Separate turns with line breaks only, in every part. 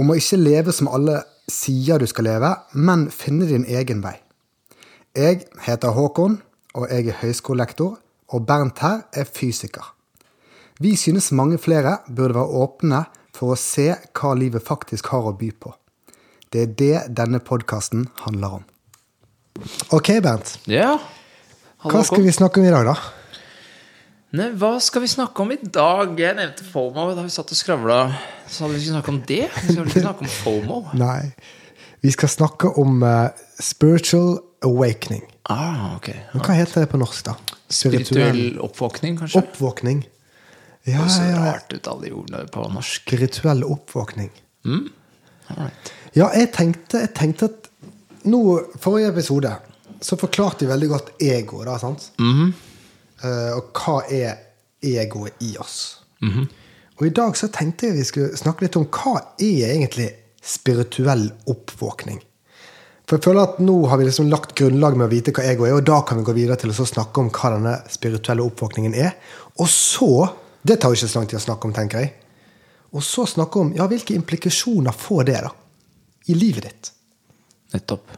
Om å ikke leve som alle sier du skal leve, men finne din egen vei. Jeg heter Håkon, og jeg er høyskolelektor, og Bernt her er fysiker. Vi synes mange flere burde være åpne for å se hva livet faktisk har å by på. Det er det denne podkasten handler om. Ok, Bernt.
Ja.
Hva skal vi snakke om i dag, da?
Nei, hva skal vi snakke om i dag? Jeg nevnte FOMO da vi satt og skravla. Så hadde vi skulle snakke om det. Vi skal vel ikke snakke om FOMO.
Nei. Vi skal snakke om eh, spiritual awakening.
Ah, ok.
Men hva heter det på norsk, da?
Spirituell oppvåkning, Altså, kanskje?
oppvåkning. Ja,
Det høres så
ja, ja.
rart ut, alle de ordene på norsk.
Spirituell oppvåkning.
Alright.
Ja, jeg tenkte, jeg tenkte at nå, Forrige episode så forklarte de veldig godt ego, da, sant? Eh, og hva er egoet i oss? Og i dag så tenkte jeg vi skulle snakke litt om hva er egentlig spirituell oppvåkning? For jeg føler at nå har vi liksom lagt grunnlag med å vite hva ego er, og da kan vi gå videre til å så snakke om hva denne spirituelle oppvåkningen er. Og så Det tar jo ikke så lang tid å snakke om, tenker jeg. Og så snakke om ja, hvilke implikasjoner får det da, i livet ditt.
Nettopp.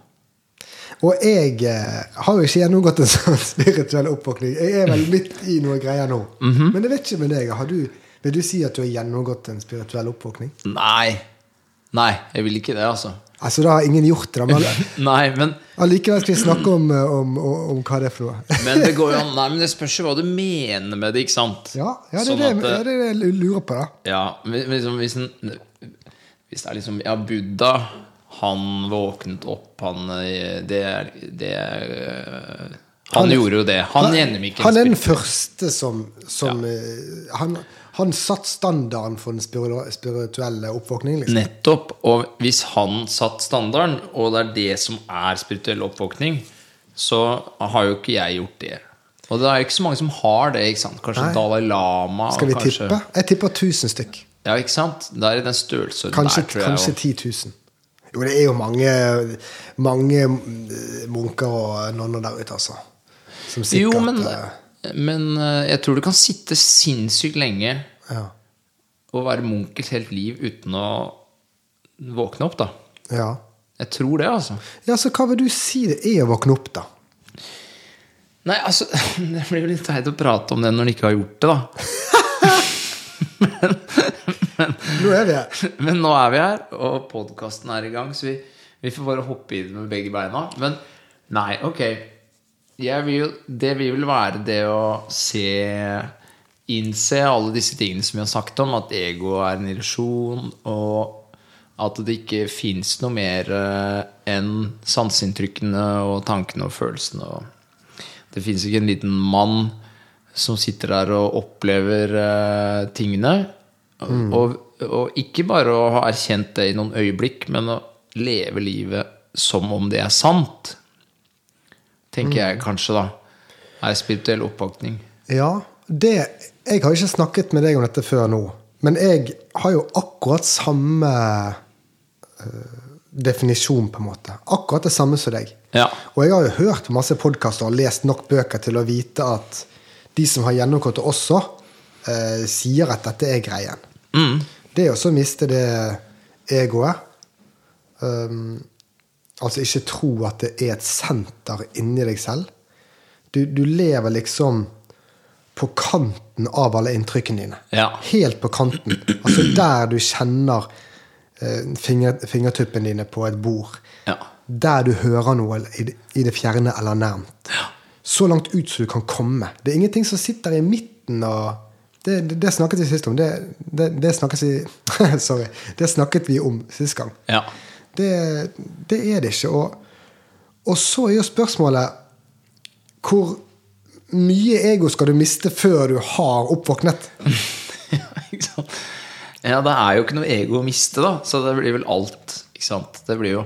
Og jeg eh, har jo ikke gjennomgått en sånn spirituell oppvåkning. Jeg er vel midt i noe greier nå.
Mhm.
Men jeg vet ikke med deg. Har du, vil du si at du har gjennomgått en spirituell oppvåkning?
Nei. Nei, jeg vil ikke det, altså.
Altså, det har ingen gjort, det, men
Nei, men
allikevel skal vi snakke om, eh, om, om, om hva det er for noe.
men det går jo an Nei, men det spørs jo hva du mener med det, ikke sant?
Ja, ja, det, er
Sånn
det,
at,
ja det er det jeg lurer på, da.
Ja, men liksom, hvis, en, hvis det er liksom Ja, Buddha, han våknet opp, han eh, Det, er- det er, eh, Han gjorde jo det. Han gjennomgikk en
Han er den
spir-
første som, som eh, han, han satt standarden for den spiru- spirituelle oppvåkningen, liksom.
Nettopp. Og hvis han satt standarden, og det er det som er spirituell oppvåkning, så har jo ikke jeg gjort det. Og det er jo ikke så mange som har det. ikke sant? Kanskje
Nei.
Dalai Lama. og
Skal vi
kanskje,
tippe? Jeg tipper 1000 stykk.
Ja, ikke sant? Det er i den størrelsen
Kanskje,
der, tror jeg.
kanskje
og-
10 000. Jo, det er jo mange, mange eh, munker og nonner der ute, altså. Som sikkert
jo, men,
eh,
men eh, jeg tror du kan sitte sinnssykt lenge
ja.
å være munk et helt liv uten å våkne opp, da.
ja.
Jeg tror det, altså.
ja, så hva vil du si det er å våkne opp, da?
Nei, altså, det blir jo litt teit å prate om det når en ikke har gjort det, da.
Nå er vi her.
Men nå er vi her, og podkasten er i gang, så vi, vi får bare hoppe i det med begge beina. Men nei, ok. Jeg vil jo, det vil vel være det å se Innse alle disse tingene som vi har sagt om, at ego er en illusjon, og at det ikke fins noe mer eh, enn sanseinntrykkene og tankene og følelsene. Og det fins ikke en liten mann som sitter der og opplever eh, tingene. Og, og ikke bare å ha erkjent det i noen øyeblikk, men å leve livet som om det er sant. Tenker jeg kanskje, da. Er spirituell oppvåkning.
Ja, det Jeg har ikke snakket med deg om dette før nå, men jeg har jo akkurat samme eh, definisjon, på en måte. Akkurat det samme som deg.
Ja.
Og jeg har jo hørt på masse podkaster og lest nok bøker til å vite at de som har gjennomgått det også, eh, sier at dette er greien. Det er også å miste det egoet. Um, altså ikke tro at det er et senter inni deg selv. Du, du lever liksom på kanten av alle inntrykkene dine.
Ja.
Helt på kanten. Altså der du kjenner eh, finger, fingertuppene dine på et bord.
Ja.
Der du hører noe i det, i det fjerne eller nærmt. Så langt ut som du kan komme. Det er ingenting som sitter i midten og Det, det, det snakket vi sist om. Det, det, det, snakket vi, sorry. det snakket vi om sist gang.
Ja.
Det, det er det ikke. Og, og så er jo spørsmålet hvor mye ego skal du miste før du har oppvåknet?
Ja, ikke sant? Ja, det er jo ikke noe ego å miste, da. Så det blir vel alt. Ikke sant? Det blir jo,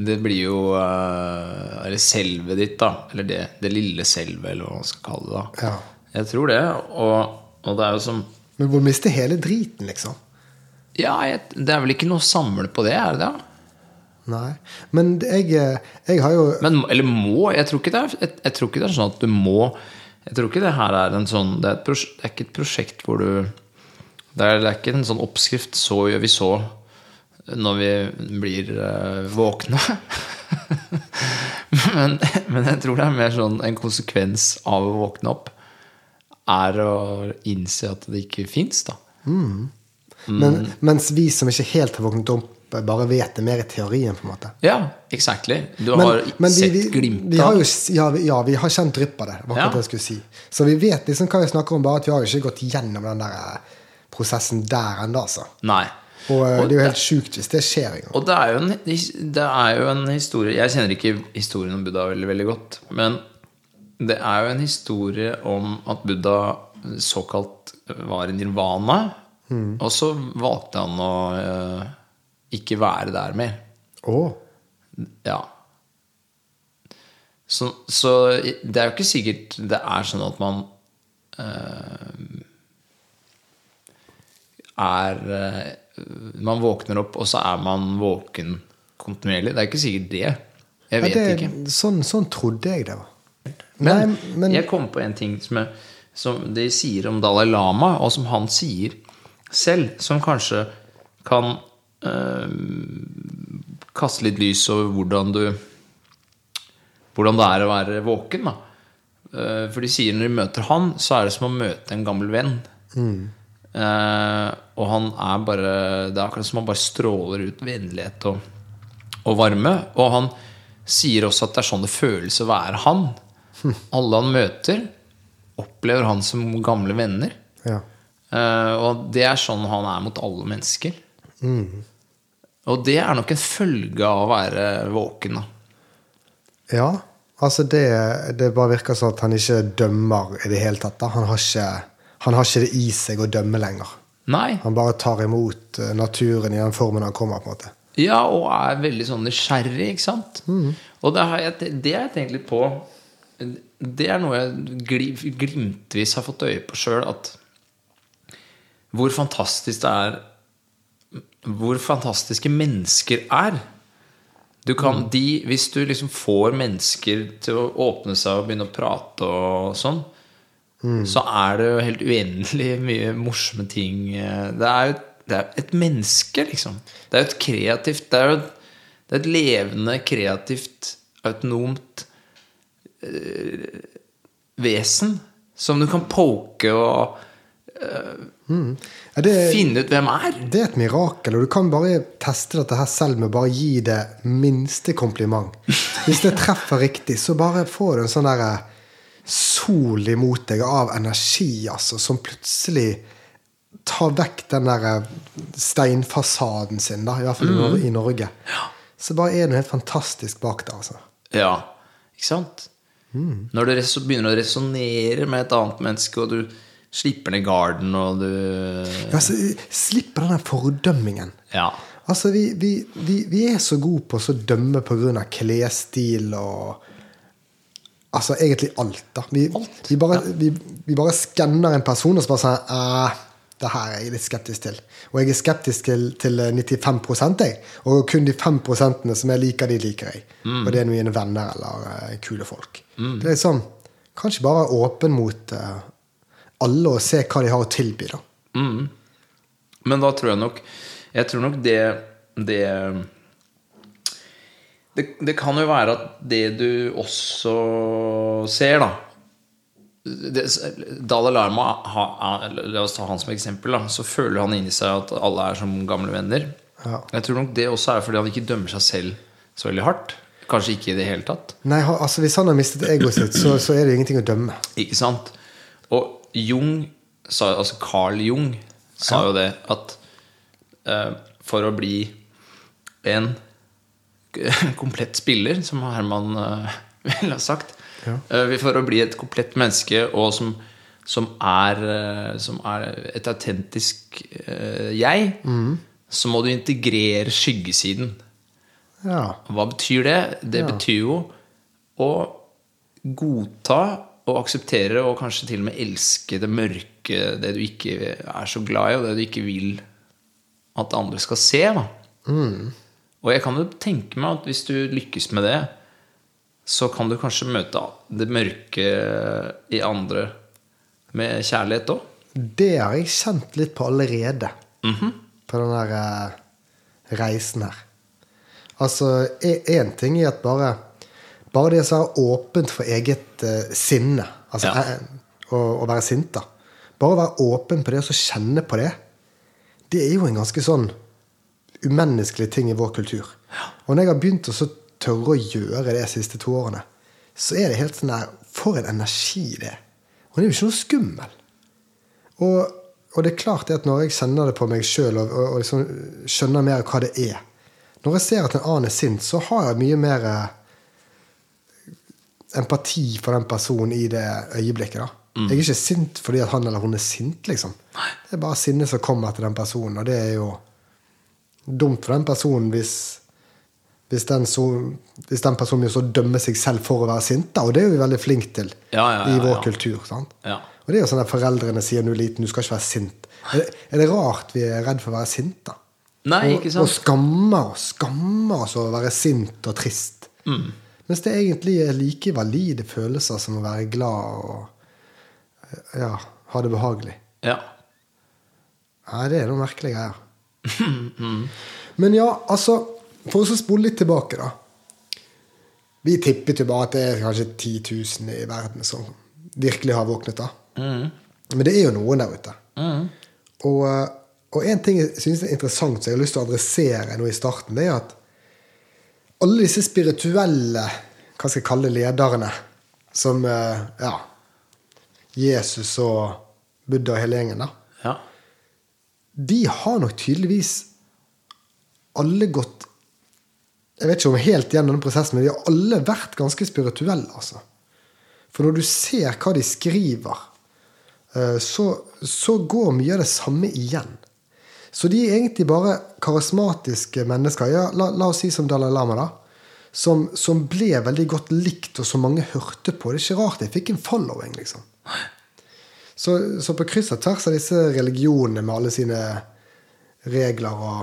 det blir jo eh, Eller selvet ditt, da. Eller det, det lille selvet, eller hva man skal kalle det. da
Ja.
Jeg tror det. Og, og det er jo som
Men hvor miste hele driten, liksom.
Ja, jeg, det er vel ikke noe å samle på det, er det det?
Nei. Men jeg, eh, jeg har jo
Men, eller må jeg tror, ikke det er, jeg, jeg tror ikke det er sånn at du må Jeg tror ikke det her er en sånn Det er, et pros, det er ikke et prosjekt hvor du det er, det er ikke en sånn oppskrift 'så gjør vi så' når vi blir eh, våkne. men, men jeg tror det er mer sånn en konsekvens av å våkne opp er å innse at det ikke fins, da. Mm.
men, Mens vi som ikke helt har våknet opp, eh, bare vet det mer i teorien, på en måte.
Ja, exactly. Du har
vi-
sett
vi, vi
glimt
har
av
jo, s- ja, vi, ja, vi har kjent drypp av det. var akkurat
Ja.
det jeg skulle si. Så vi vet liksom hva vi snakker om, bare at vi har jo ikke gått gjennom den der eh, prosessen der ennå, altså.
Nei.
Og eh,
Og
det er jo helt sjukt hvis det skjer en gang.
Og det er, jo en, det er jo en historie Jeg kjenner ikke historien om Buddha veldig, veldig godt. Men det er jo en historie om at Buddha såkalt var i nirvana. Og så valgte han å eh, ikke være der mer.
Åh.
Ja. Så, så det er jo ikke sikkert det er sånn at man eh, er eh, Man våkner opp, og så er man våken kontinuerlig. Det er ikke sikkert det. Jeg
Ja,
vet
det-
ikke.
Sånn, sånn trodde jeg det var.
Men,
Nei, men
jeg kom på en ting som, jeg, som de sier om Dalai Lama, og som han sier selv, som kanskje kan eh, kaste litt lys over hvordan du Hvordan det er å være våken. da Eh, For de sier når de møter han, så er det som å møte en gammel venn. Eh, og han er bare Det er akkurat som han bare stråler ut vennlighet og, og varme. Og han sier også at det er sånn det føles å være han. Alle han møter, opplever han som gamle venner.
ja.
Eh, og det er sånn han er mot alle mennesker. Og det er nok en følge av å være våken. Da.
ja. Altså, det, det bare virker sånn at han ikke dømmer i det hele tatt. Da. Han, har ikke, han har ikke det i seg å dømme lenger.
Nei.
Han bare tar imot eh, naturen i den formen han kommer. på en måte.
Ja, og er veldig sånn nysgjerrig, ikke sant? Og det har jeg, det har jeg tenkt litt på Det er noe jeg gli- glimtvis har fått øye på sjøl, at hvor fantastisk det er Hvor fantastiske mennesker er. Du kan, de, hvis du liksom får mennesker til å åpne seg og begynne å prate og sånn, så er det jo helt uendelig mye morsomme ting. Det er jo det er et menneske, liksom. Det er jo et kreativt Det er jo et, det er et levende, kreativt, autonomt eh, vesen som du kan poke og
Ja, det,
finne ut hvem er.
det er et mirakel, og du kan bare teste dette her selv med å bare gi det minste kompliment. Hvis det treffer riktig, så bare får du en sånn der eh, sol imot deg av energi, altså, som plutselig tar vekk den der eh, steinfasaden sin, da, i hvert fall i Nor- i Norge. Så bare er det helt fantastisk bak der, altså.
Ja, ikke sant? Når du reso- begynner å resonnere med et annet menneske, og du slipper ned garden, og du
Ja, så, eh, Slipp den der fordømmingen.
Ja.
Altså, vi, vi, vi, vi er så gode på å så dømme pga. klesstil og Altså egentlig alt, da. Vi, vi bare, vi, vi bare skanner en person og så bare sånn «Eh, Det her er jeg litt skeptisk til. Og jeg er skeptisk til, til 95 jeg. Og kun de 5 som jeg liker, de liker jeg. Og det er mine venner eller eh, kule folk. Det er sånn, Kanskje bare være åpen mot eh, alle og se hva de har å tilby, da.
Mm. Men da tror jeg nok Jeg tror nok det Det det, det kan jo være at det du også ser, da det, Dalai Lama, ha, ha- la oss ta han som eksempel, da, så føler han inni seg at alle er som gamle venner.
Ja.
Jeg tror nok det også er fordi han ikke dømmer seg selv så veldig hardt. Kanskje ikke i det hele tatt.
Nei, ha- altså Hvis han har mistet egoet sitt, så, så er det jo ingenting å dømme.
Ikke sant? Og Jung, sa, altså Carl Jung, sa jo det at eh, for å bli en komplett spiller, som Herman eh, ville ha sagt eh, For å bli et komplett menneske og som, som er, eh, som er et autentisk eh, jeg, så må du integrere skyggesiden.
Ja.
Hva betyr det? Det betyr jo å godta og akseptere og kanskje til og med elske det mørke, det du ikke er så glad i, og det du ikke vil at andre skal se. Da. Og jeg kan jo tenke meg at hvis du lykkes med det, så kan du kanskje møte det mørke i andre med kjærlighet òg.
Det har jeg kjent litt på allerede. På den der eh, reisen her. Altså, én ting er at bare Bare det å være åpent for eget eh, sinne, altså
Ja.
eh, å, å være sint, da. Bare å være åpen på det og så kjenne på det, det er jo en ganske sånn umenneskelig ting i vår kultur. Og når jeg har begynt å så tørre å gjøre det de siste to årene, så er det helt sånn der For en energi det er! Og det er jo ikke noe skummel. Og, og det er klart det at når jeg kjenner det på meg sjøl og, og, og liksom skjønner mer hva det er Når jeg ser at en annen er sint, så har jeg mye mer eh, empati for den personen i det øyeblikket. da.
Mm.
Jeg er ikke sint fordi at han eller hun er sint, liksom. Det er bare sinnet som kommer til den personen, og det er jo dumt for den personen hvis hvis den, så, hvis den personen jo så dømmer seg selv for å være sint, da, og det er vi veldig flinke til
Ja, ja, ja,
i vår
ja.
kultur. sant?
Ja.
Og det er jo sånn at foreldrene sier når du er liten, du skal ikke være sint. Er det, er det rart vi er redd for å være sint, da?
Nei,
og,
ikke sant?
og skammer oss skammer oss over å være sint og trist.
Mm.
Mens det egentlig er like valide følelser som å være glad og ja, ha det behagelig.
Ja.
Nei, det er noen merkelige greier.
Mm.
Men ja, altså For å så spole litt tilbake, da. Vi tippet jo bare at det er kanskje 10 000 i verden som virkelig har våknet, da.
Mm,
Men det er jo noen der ute. Og, eh, og en ting jeg synes er interessant, som jeg har lyst til å adressere nå i starten, det er at alle disse spirituelle hva skal jeg kalle det, lederne, som eh, ja, Jesus og Buddha og hele gjengen, da
ja.
de har nok tydeligvis alle gått Jeg vet ikke om helt gjennom den prosessen, men de har alle vært ganske spirituelle, altså. For når du ser hva de skriver, eh, så, så går mye av det samme igjen. Så de er egentlig bare karismatiske mennesker. Ja, la, la oss si som Dalai Lama, da. Som, som ble veldig godt likt, og som mange hørte på. Det er ikke rart jeg fikk en following, liksom. Så, så på kryss og tvers av disse religionene med alle sine regler og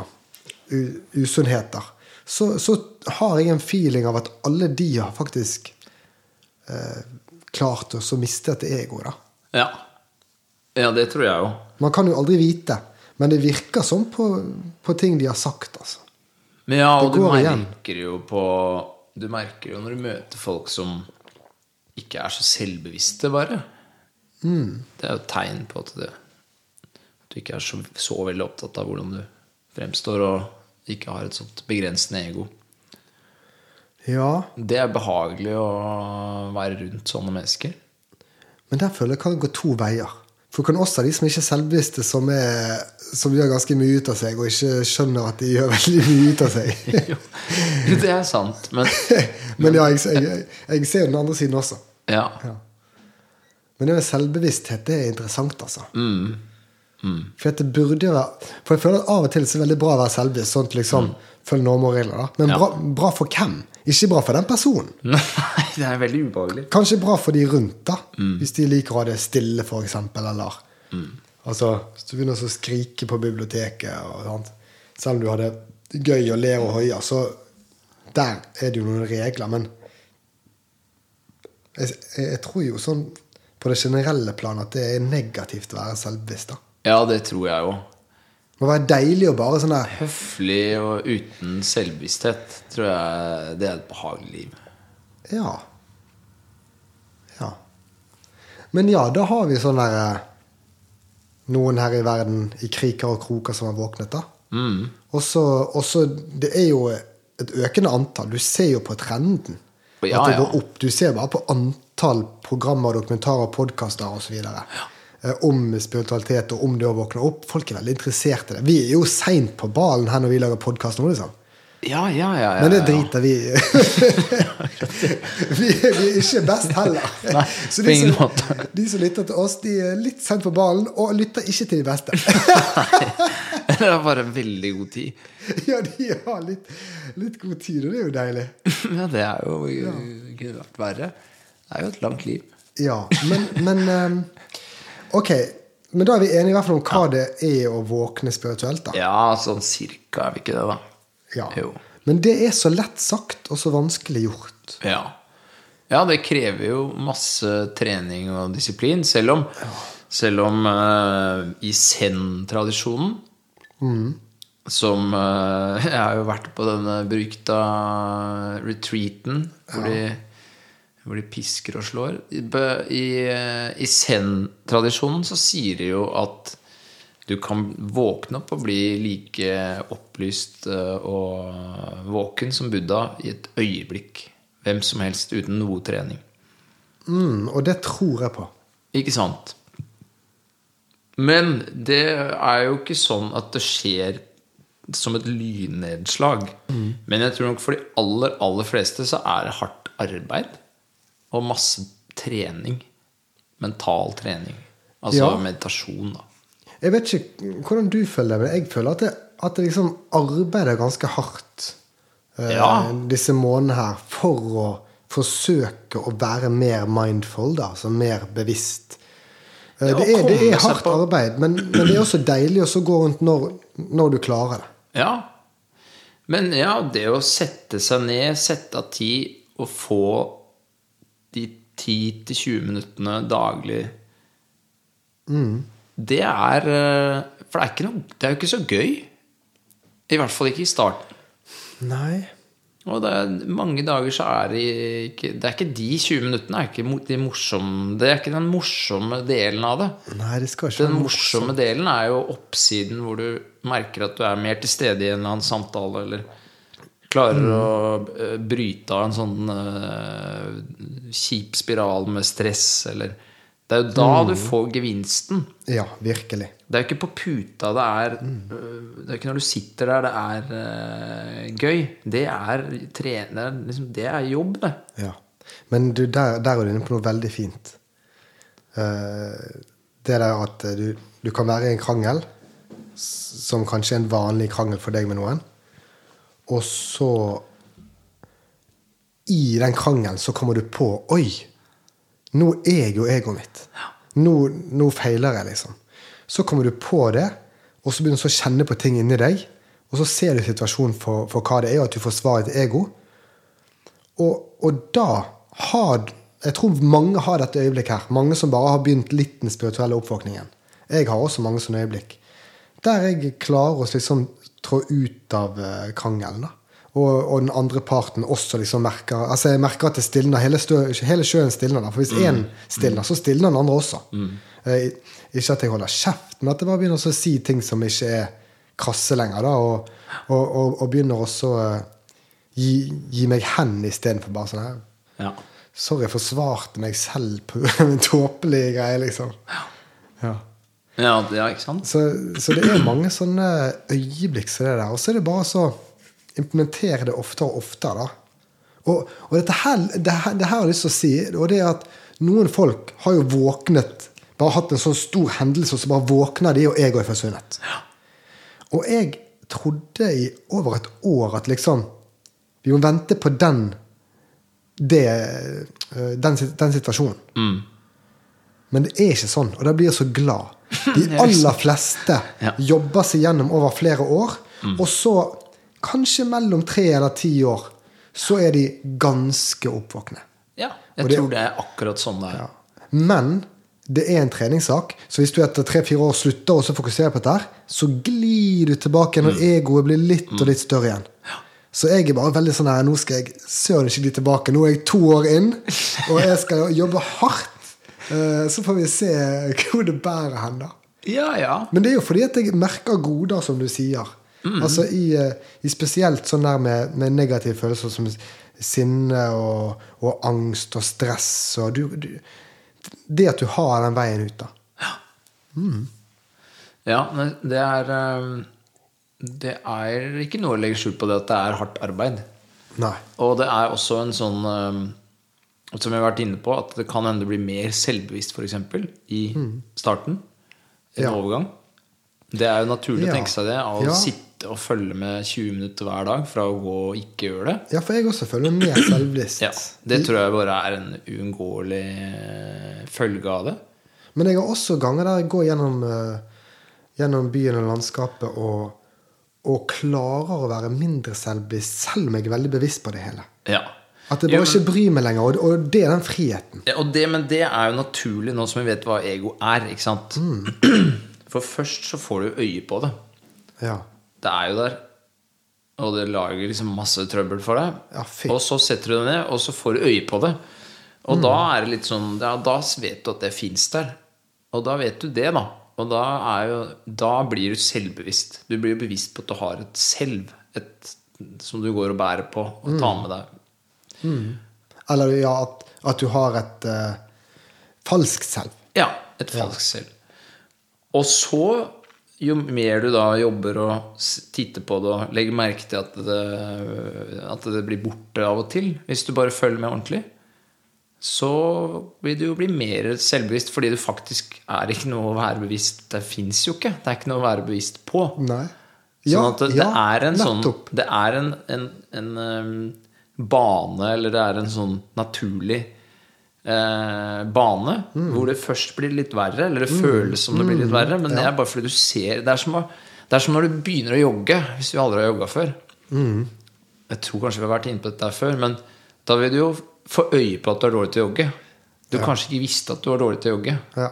u usunnheter, så, så har jeg en feeling av at alle de har faktisk eh, klart å så miste dette egoet. da.
Ja. Ja, det tror jeg jo.
Man kan jo aldri vite, men det virker sånn på, på ting de har sagt. altså.
Men ja, og
Det
du
går igjen.
merker jo på Du merker jo når du møter folk som ikke er så selvbevisste, bare.
Mm.
Det er jo et tegn på at det, at du ikke er så, så veldig opptatt av hvordan du fremstår, og ikke har et sånt begrensende ego.
Ja,
Det er behagelig å være rundt sånne mennesker.
Men der føler jeg kan gå to veier. For du kan også ha de som ikke er selvbevisste, som, er, som gjør ganske mye ut av seg, og ikke skjønner at de gjør veldig mye ut av seg.
Jo, det er sant, men
Men ja, jeg, jeg, jeg ser jo den andre siden også.
ja.
Men det med selvbevissthet, det er interessant, altså. For at det burde jo være For jeg føler at av og til så er det veldig bra å være selvbevisst. Sånn at liksom følg normer og regler, da. Men
Ja.
bra, bra for hvem? Ikke bra for den personen.
Nei, det er veldig ubehagelig.
Kanskje bra for de rundt, da. Hvis de liker å ha det stille, for eksempel, eller Altså, hvis du begynner å skrike på biblioteket og sånt Selv om du har det gøy og ler og hoier, så Der er det jo noen regler, men jeg, jeg, jeg tror jo sånn på det generelle plan at det er negativt å være selvbevisst, da.
Ja, det tror jeg jo.
Det må være deilig å bare sånn der
Høflig og uten selvbevissthet tror jeg det er et behagelig liv.
Ja. Ja. Men ja, da har vi sånn der eh, Noen her i verden i kriker og kroker som har våknet, da.
Mm.
Og så og så- Det er jo et økende antall. Du ser jo på trenden.
Ja,
at det
ja.
går opp. Du ser bare på antall programmer, dokumentarer, podkaster osv. Eh, Om spiritualitet og om det å våkne opp. Folk er veldig interessert i det. Vi er jo seint på ballen her når vi lager podkast nå, liksom.
Ja, ja, ja. ja
Men det
ja.
driter vi i. vi, vi er ikke best heller.
Nei,
Så
på
de
ingen
som,
måte.
de som lytter til oss, de er litt sent på ballen og lytter ikke til de beste.
Det er bare veldig god tid.
ja, de har litt, litt god tid, og det er jo deilig.
Ja, det er jo det kunne vært verre. Det er jo et langt liv.
Ja, men, men ehm, Ok, men da er vi enige i hvert fall om hva det er å våkne spirituelt, da.
Ja, sånn cirka er vi ikke det, da?
Ja.
Jo.
Men det er så lett sagt og så vanskelig gjort.
Ja. ja, det krever jo masse trening og disiplin, selv om, selv om eh, i zen-tradisjonen Som eh, Jeg har jo vært på denne brukta retreaten hvor, de, hvor de pisker og slår. I, bø- i, eh, i zen-tradisjonen så sier de jo at du kan våkne opp og bli like opplyst eh, og våken som Buddha i et øyeblikk. Hvem som helst uten noe trening.
Mm, og det tror jeg på.
Ikke sant? Men det er jo ikke sånn at det skjer som et lynnedslag. Men jeg tror nok for de aller, aller fleste så er det hardt arbeid og masse trening. Mental trening. Altså
Ja.
meditasjon, da.
Jeg vet ikke hvordan du føler det, men jeg føler at jeg, at jeg liksom arbeider ganske hardt eh,
Ja.
disse månedene her for å forsøke å være mer mindful, da, altså mer bevisst. Eh,
Ja,
det, er, det
komme
er
seg
hardt
på-
arbeid, men, men det er også deilig å så gå rundt når, når du klarer det.
Ja. Men ja, det å sette seg ned, sette av tid og få de 10-20 minuttene daglig Det er eh, For det er, ikke noe, det er jo ikke så gøy. I hvert fall ikke i starten.
Nei.
Og det er, mange dager så er det ikke Det er ikke de 20 minuttene. Er ikke mo- de morsomme, det er ikke den morsomme delen av det.
Nei, det skal ikke
Den
være
morsomme delen er jo oppsiden hvor du merker at du er mer til stede i en eller annen samtale, eller klarer å eh, bryte av en sånn eh, kjip spiral med stress, eller Det er jo da du får gevinsten.
Ja, virkelig.
Det er jo ikke på puta det er øh, Det er ikke når du sitter der det er øh, gøy. Det er trener liksom, Det er jobb, det.
Ja. Men du, der, der er du inne på noe veldig fint. Eh, det der at eh, du, du kan være i en krangel, s- som kanskje er en vanlig krangel for deg med noen, og så I den krangelen så kommer du på Oi! Nå er jo egoet mitt. Nå, nå feiler jeg, liksom. Så kommer du på det, og så begynner du så å kjenne på ting inni deg. Og så ser du situasjonen for, for hva det er, og at du forsvarer ditt ego. Og, og da har Jeg tror mange har dette øyeblikk her. Mange som bare har begynt litt den spirituelle oppvåkningen. Jeg har også mange sånne øyeblikk. Der jeg klarer å liksom trå ut av eh, krangelen. da. Og, og den andre parten også liksom merker altså jeg merker at det stilner, hele, stø, hele sjøen stilner. da, For hvis én stilner, så stilner den andre også. Eh, ikke at jeg holder kjeft, men at jeg bare begynner også å si ting som ikke er krasse lenger. da, Og, og, og, og begynner også eh, gi, gi meg hen istedenfor bare sånn her.
Ja.
Sorry, jeg forsvarte meg selv på en tåpelig greie, liksom. Ja.
Ja, det, ja, ikke sant?
Så, så det er mange sånne øyeblikk som det der. Og så er det bare så implementere det oftere og oftere, da. Og, og dette her, det, her, det her har jeg lyst til å si, og det er at noen folk har jo våknet Bare hatt en sånn stor hendelse, og så bare våkner de, og egoet er forsvunnet. Og jeg trodde i over et år at liksom Vi må vente på den det, eh, den, sit- den situasjonen. Men det er ikke sånn, og da blir jeg så glad. De aller fleste
Ja.
jobber seg gjennom over flere år, og så, kanskje mellom tre eller ti år, så er de ganske oppvåkne.
Ja, jeg
Og det-
tror det er akkurat sånn det er.
Ja. Men det er en treningssak, så hvis du etter tre-fire år slutter og så fokuserer på dette, her, så glir du tilbake når egoet blir litt og litt større igjen. Så jeg er bare veldig sånn her, nå skal jeg søren ikke bli tilbake. Nå er jeg to år inn, og jeg skal jobbe hardt. Eh, Så får vi se hvor det bærer hen, da.
Ja, ja.
Men det er jo fordi at jeg merker goder, som du sier.
Mm.
Altså i, eh, i spesielt sånn der med, med negative følelser som sinne og, og angst og stress og du, du, Det at du har den veien ut, da.
Ja, men det er eh, det er ikke noe å legge skjul på det at det er hardt arbeid.
Nei.
Og det er også en sånn eh, Som jeg har vært inne på, at det kan hende du blir mer selvbevisst for eksempel, i starten.
Mm.
En
Ja.
overgang. Det er jo naturlig
Ja.
å tenke seg det av
Ja.
å sitte og følge med 20 minutter hver dag fra å gå og ikke gjøre det.
Ja, for jeg også føler meg mer selvbevisst.
Ja, Det tror jeg bare er en uunngåelig eh, følge av det.
Men jeg har også ganger der jeg går gjennom, eh, gjennom byen og landskapet og, og klarer å være mindre selvbevisst, selv om jeg er veldig bevisst på det hele.
Ja.
At jeg
Jo,
bare ikke bryr meg lenger, og, og det er den friheten.
Ja, og det, men det er jo naturlig nå som vi vet hva ego er, ikke sant?
Mm.
For først så får du øye på det.
Ja.
Det er jo der. Og det lager liksom masse trøbbel for deg.
Ja, fy. Mm.
og så setter du deg ned, og så får du øye på det. Og da er det litt sånn ja, Da vet du at det fins der. Og da vet du det, da. Og da, er jo, da blir du selvbevisst. Du blir jo bevisst på at du har et selv et, som du går og bærer på og tar
Mm.
med deg.
Eller ja, at, at du har et eh, falskt selv.
Ja, et falskt selv. Og så, jo mer du da jobber og s- titter på det og legger merke til at det, at det blir borte av og til, hvis du bare følger med ordentlig, så vil du jo bli mer selvbevisst fordi du faktisk er ikke noe å være bevisst Det fins jo ikke. Det er ikke noe å være bevisst på.
Nei.
Sånn at det, det er en sånn
nettopp.
Det er en, en, en ehm, bane, eller det er en sånn naturlig eh, bane, hvor det først blir litt verre, eller det føles som det blir litt verre, men det er bare fordi du ser Det er som, å- det er som når du begynner å jogge, hvis du aldri har jogga før. Jeg tror kanskje vi har vært inne på dette her før, men da vil du jo få øye på at du er dårlig til å jogge. Du kanskje ikke visste at du var dårlig til å jogge.
Ja.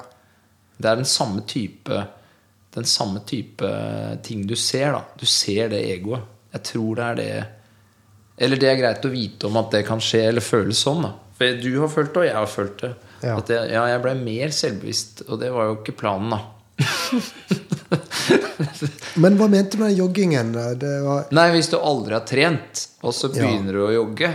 Det er den samme type Den samme type ting du ser, da. Du ser det egoet. Jeg tror det er det Eller det er greit å vite om at det kan skje, eller føles sånn, da. For du har følt det, og jeg har følt det.
Ja.
At jeg, ja, jeg ble mer selvbevisst, og det var jo ikke planen, da.
Men hva mente du med den joggingen? Eh, Det var
Nei, hvis du aldri har trent, og så begynner du å jogge,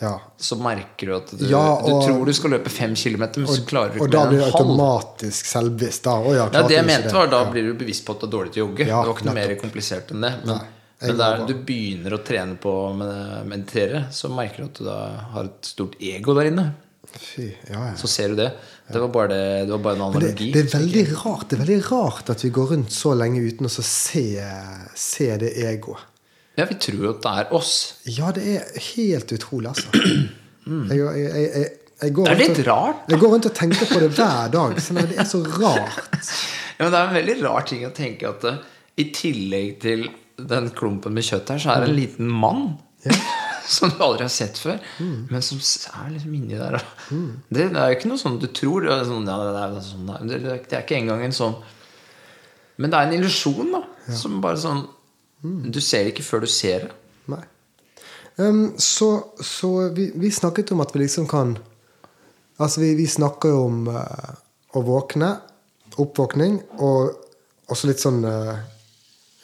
Ja.
så merker du at du,
Ja, og-
du tror du skal løpe fem kilometer, men så klarer du
Og
ikke
da
mer
blir
enn
du
en halv.
automatisk selvbevisst. Da. Å, ja,
Ja,
klart
det jeg
ikke
mente var Da blir du bevisst på at det er dårlig til å jogge.
Ja,
det var ikke noe mer komplisert enn det. Men,
Nei, jeg
men der
jobber.
du begynner å trene på å med- meditere, så merker du at du da har et stort ego der inne.
Fy, ja, ja.
Så ser du det. Det var bare, det, det var bare en
Men det,
analogi.
det, er veldig rart, det er veldig rart at vi går rundt så lenge uten å så se, se det egoet.
Ja, vi tror jo at det er oss.
Ja, det er helt utrolig, altså. Jeg, jeg, jeg, jeg, jeg går
Mm. Det er
rundt og-
litt rart,
Jeg går rundt og tenker på det hver dag. Sånn, at det er så rart.
Ja, men det er en veldig rar ting å tenke at eh, i tillegg til den klumpen med kjøtt her, så er det en
Mm.
liten mann. Som du aldri har sett før.
Mm.
Men som s- er liksom inni der. da. Det, det er jo ikke noe sånn du tror. Det er, sånn, ja, det, er jo sånn, det, er- det er ikke engang en sånn Men det er en illusjon, da. Som bare sånn
Mm.
Du ser det ikke før du ser det.
Nei. Ehm, så så vi, vi snakket om at vi liksom kan Altså, vi, vi snakker jo om eh, å våkne, oppvåkning, og også litt sånn eh,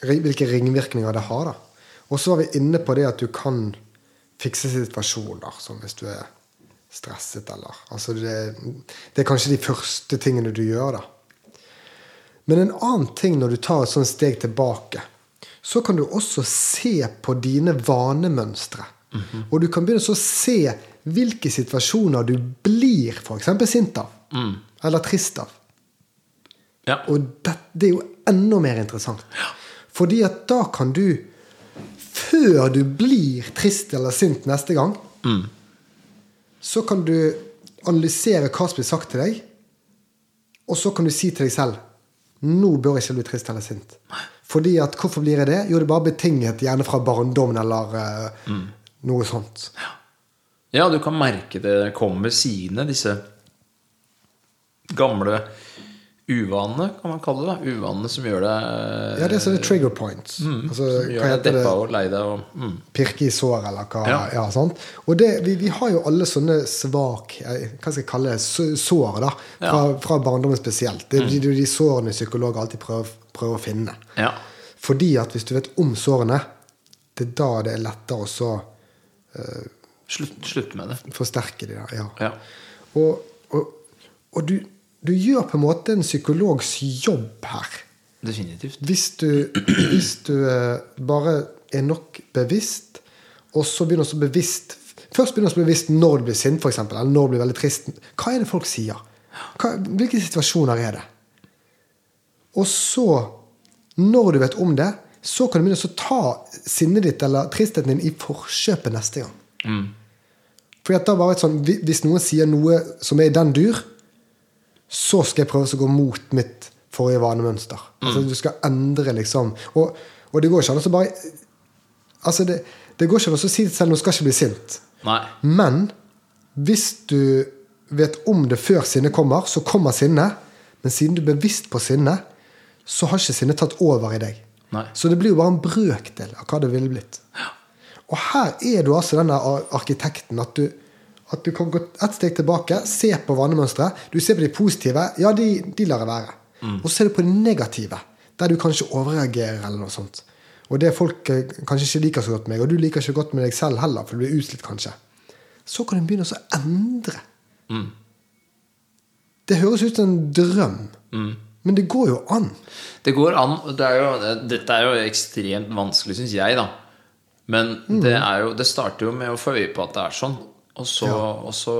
ri- Hvilke ringvirkninger det har, da. Og så var vi inne på det at du kan fikse situasjoner, som hvis du er stresset eller Altså, det, det er kanskje de første tingene du gjør, da. Men en annen ting når du tar et sånt steg tilbake, så kan du også se på dine vanemønstre. Og du kan begynne så å se hvilke situasjoner du blir f.eks. sint av. Eller trist av.
Ja.
Og det, det er jo enda mer interessant. Fordi at da kan du, før du blir trist eller sint neste gang, så kan du analysere hva som blir sagt til deg, og så kan du si til deg selv nå bør jeg ikke bli trist eller sint. Fordi at hvorfor blir jeg det? Jo, det er bare betinget, gjerne fra barndommen eller eh, noe sånt.
Ja, du kan merke det kommer sidene, disse gamle uvanene, kan man kalle det. da. Uvanene som gjør deg
Ja, det er sånne trigger points. altså,
Som
hva
gjør deg
heter det?
deppa og lei deg og mm.
pirke i sår, eller hva. Ja.
Ja.
sant? Og det, vi, vi har jo alle sånne svak eh, Hva skal jeg kalle det? så- Sår, da. Fra, fra barndommen spesielt. Det er de, de sårene psykologer alltid prøver, prøver å finne.
Ja.
Fordi at hvis du vet om sårene, det er da det er lettere å så
Slutt, slutt med det.
forsterke de der. Ja.
Ja.
Og, og, og du, du gjør på en måte en psykologs jobb her.
Definitivt.
Hvis du, hvis du eh, bare er nok bevisst, og så begynner du å bli bevisst Først begynner du å bli bevisst når du blir sint, for eksempel, eller når du blir veldig trist. Hva er det folk sier? Hva, hvilke situasjoner er det? Og så, når du vet om det, så kan du begynne å så ta sinnet ditt eller tristheten din i forkjøpet neste gang. Fordi at da bare et sånn, hvi- Hvis noen sier noe som er i den dur, så skal jeg prøve å gå mot mitt forrige vanemønster. Altså, du skal endre, liksom. Og, og det går ikke an å så bare Altså, det, det går ikke an å så si til selv nå skal jeg ikke bli sint.
Nei.
Men hvis du vet om det før sinnet kommer, så kommer sinnet. Men siden du er bevisst på sinnet, så har ikke sinnet tatt over i deg.
Nei.
Så det blir jo bare en brøkdel av hva det ville blitt. Og her er du altså denne ar- arkitekten. At du, at du kan gå ett steg tilbake, se på vanemønsteret. Du ser på de positive. Ja, de, de lar det være. Og så ser du på de negative, der du kanskje overreagerer eller noe sånt. Og det folk eh, kanskje ikke liker så godt med, og du liker ikke godt med deg selv heller, for du blir utslitt kanskje. Så kan du begynne å så endre. Det høres ut som en drøm, men det går jo an.
Det går an og det er jo, Dette er jo ekstremt vanskelig, syns jeg, da. Men
Mm.
det, er jo, det starter jo med å få øye på at det er sånn. Og så, og så